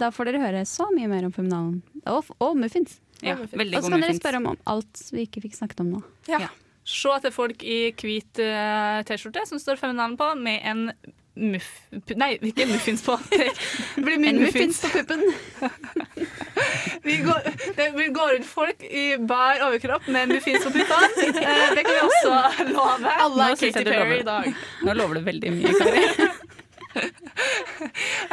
S16: Da får dere høre så mye mer om Feminalen. Og, f- og muffins.
S6: Ja,
S16: Og
S6: veldig
S16: så
S6: god
S16: kan dere
S6: muffins.
S16: spørre om, om alt vi ikke fikk snakket om nå.
S6: Ja. Se etter folk i hvit eh, T-skjorte som står fem navn på, med en muff... pu- Nei, ikke muffins på. Det blir mye
S16: En muffins
S6: muffins.
S16: på puppen.
S6: Vi går, det vi går rundt folk i bar overkropp med muffins på puppene. Eh, det kan vi også love.
S3: Alle er
S19: Nå synes jeg
S3: Katy
S19: du lover.
S3: Perry i dag.
S19: Nå lover du veldig mye, Kari.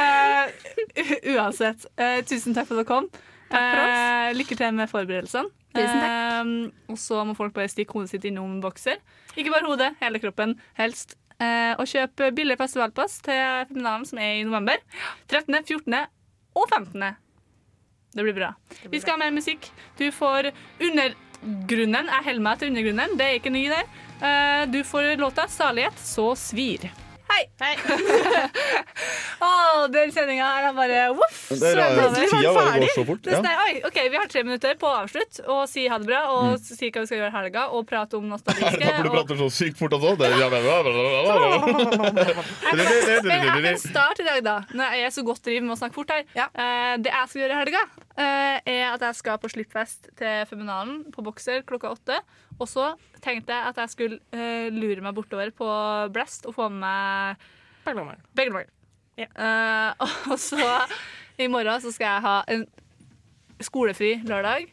S6: Eh, u- uansett, eh, tusen takk for at dere kom.
S19: for oss.
S6: Eh, lykke til med forberedelsene.
S19: Tusen
S6: Eh, og så må folk bare stikke hodet sitt innom bokser. Ikke bare hodet, hele kroppen helst. Eh, og kjøp billig festivalpass til Feminalen som er i november. 13., 14. og 15. Det blir bra. Vi skal ha mer musikk. Du får Undergrunnen. Jeg holder meg til Undergrunnen. Det er ikke ny der. Eh, du får låta 'Salighet så svir'. Hei! Å, den sendinga her er bare voff!
S7: Det er rare-
S6: svømmer.
S7: tida bare går så fort,
S6: Det er
S7: ja.
S6: sånn, oi, OK, vi har tre minutter på å avslutte og si ha det bra og si hva vi skal gjøre i helga, og prate om nostalgiske
S7: Derfor Mm. du
S6: og
S7: prater så sykt fort og sånn. Det er jævla bra.
S6: Men jeg kan starte i dag, da. Når jeg er så godt driver med å snakke fort her. Eh, det jeg skal gjøre i helga, eh, er at jeg skal på slippfest til Feminalen på Bokser klokka åtte. Og så tenkte jeg at jeg skulle eh, lure meg bortover på Blast og få med meg Beglemangel. Eh, og så i morgen så skal jeg ha en skolefri lørdag.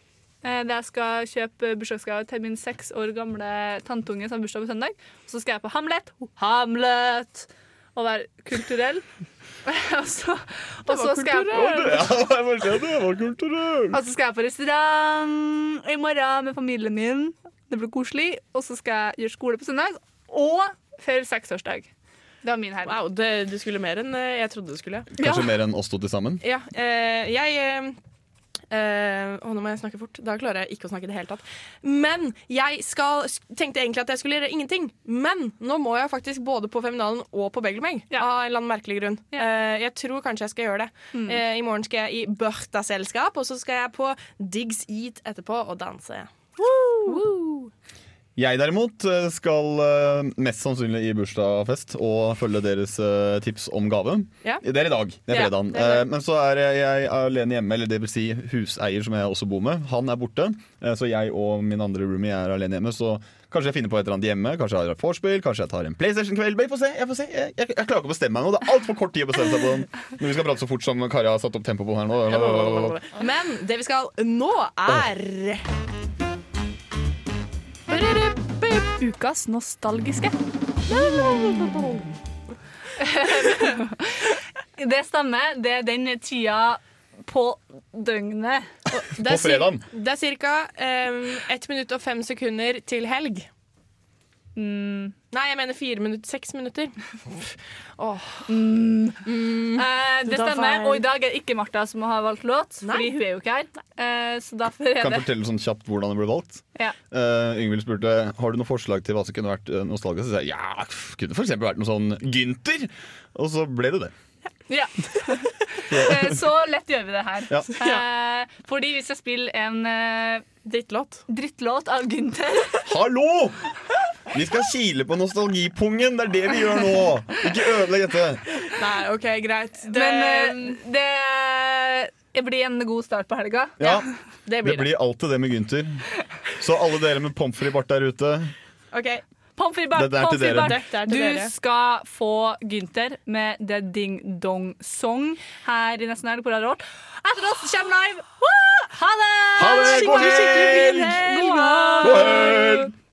S6: eh, Der jeg skal kjøpe bursdagsgave til min seks år gamle tanteunge som har bursdag på søndag. Så skal jeg på Hamlet. Hamlet! Og være kulturell. og så, og så skal jeg på
S7: Det var kulturelt.
S6: og så skal jeg på restaurant i morgen med familien min. Det blir koselig. Og så skal jeg gjøre skole på søndag. Og feire seksårsdag. Det var min helg.
S3: Wow, det, du skulle mer enn eh, jeg trodde du skulle.
S7: Kanskje mer enn oss to til sammen.
S3: Ja, eh, jeg eh, eh, Å, nå må jeg snakke fort. Da klarer jeg ikke å snakke i det hele tatt. Men jeg skal, tenkte egentlig at jeg skulle gjøre ingenting. Men nå må jeg faktisk både på Feminalen og på Begelmeng. Av en eller annen merkelig grunn. Eh, jeg tror kanskje jeg skal gjøre det.
S19: Hmm.
S6: Mm.
S3: Eh, I morgen skal jeg i Børta-selskap, og så skal jeg på Diggs Eat etterpå og danse.
S7: Jeg derimot eh, skal eh, mest sannsynlig i bursdagsfest og følge deres eh, tips om gave.
S3: Ja.
S7: Det er i dag. Det er
S3: Ja,
S7: fredagen.
S3: det er i dag.
S7: Eh, Men så er jeg alene hjemme, eller det vil si huseier som jeg også bor med. Han er borte, eh, så jeg og min andre roomie er alene hjemme. Så kanskje jeg finner på et eller annet hjemme. Kanskje jeg har et vorspiel, kanskje jeg tar en PlayStation-kveld. Vi får se. Jeg, får se. Jeg, jeg, jeg klarer ikke å bestemme meg nå. Det er altfor kort tid å bestemme seg på den. Når vi skal prate så fort som Kari har satt opp tempoet på her nå.
S3: Men det vi skal nå, er
S6: Ukas nostalgiske. Det stemmer. Det er den tida på døgnet.
S3: Det
S7: På
S3: er
S7: fredagen.
S3: cir- Det er ca. Um, 1 minutt og 5 sekunder til helg. Nei, jeg mener fire minutter. Seks minutter. Åh.
S6: Eh, det
S3: Da
S6: stemmer.
S3: feil.
S6: Og i dag er det ikke Martha som har valgt låt, fordi hun er jo ikke her. Eh, så derfor er
S7: Kan jeg
S6: det
S7: fortelle sånn kjapt hvordan det ble valgt?
S6: ja.
S7: Uh, Yngvild spurte Har du noen forslag til hva som kunne vært eh, nostalgisk. Så sa jeg ja, f- kunne for eksempel vært noe sånn Gynter. Og så ble det det.
S6: Ja. Eh, Så lett gjør vi det her.
S7: Ja.
S6: Eh, fordi vi skal spille en eh,
S3: Drittlåt.
S6: Drittlåt av Gunther.
S7: Hallo! Vi skal kile på nostalgipungen! Det er det vi gjør nå! Ikke ødelegg dette.
S3: Nei, OK, greit. Det,
S6: Men eh, det blir en god start på helga.
S7: Ja,
S3: det
S7: Det blir alltid det med Gunther. Så alle dere med pommes frites-bart der ute
S3: eh, OK.
S6: Pommes frites, Bart,
S7: Dette er til
S6: pommes frites,
S7: dere.
S6: Bart.
S3: Dette er til dere.
S6: Du skal få Gynter med The Ding Dong Song her i nesten helg på Radio Vårt. Etter oss kommer live! Woo! Ha det!
S7: Ha det! God
S6: Skikkelig, skikkelig fin
S7: helg!
S6: helg!
S7: God helg!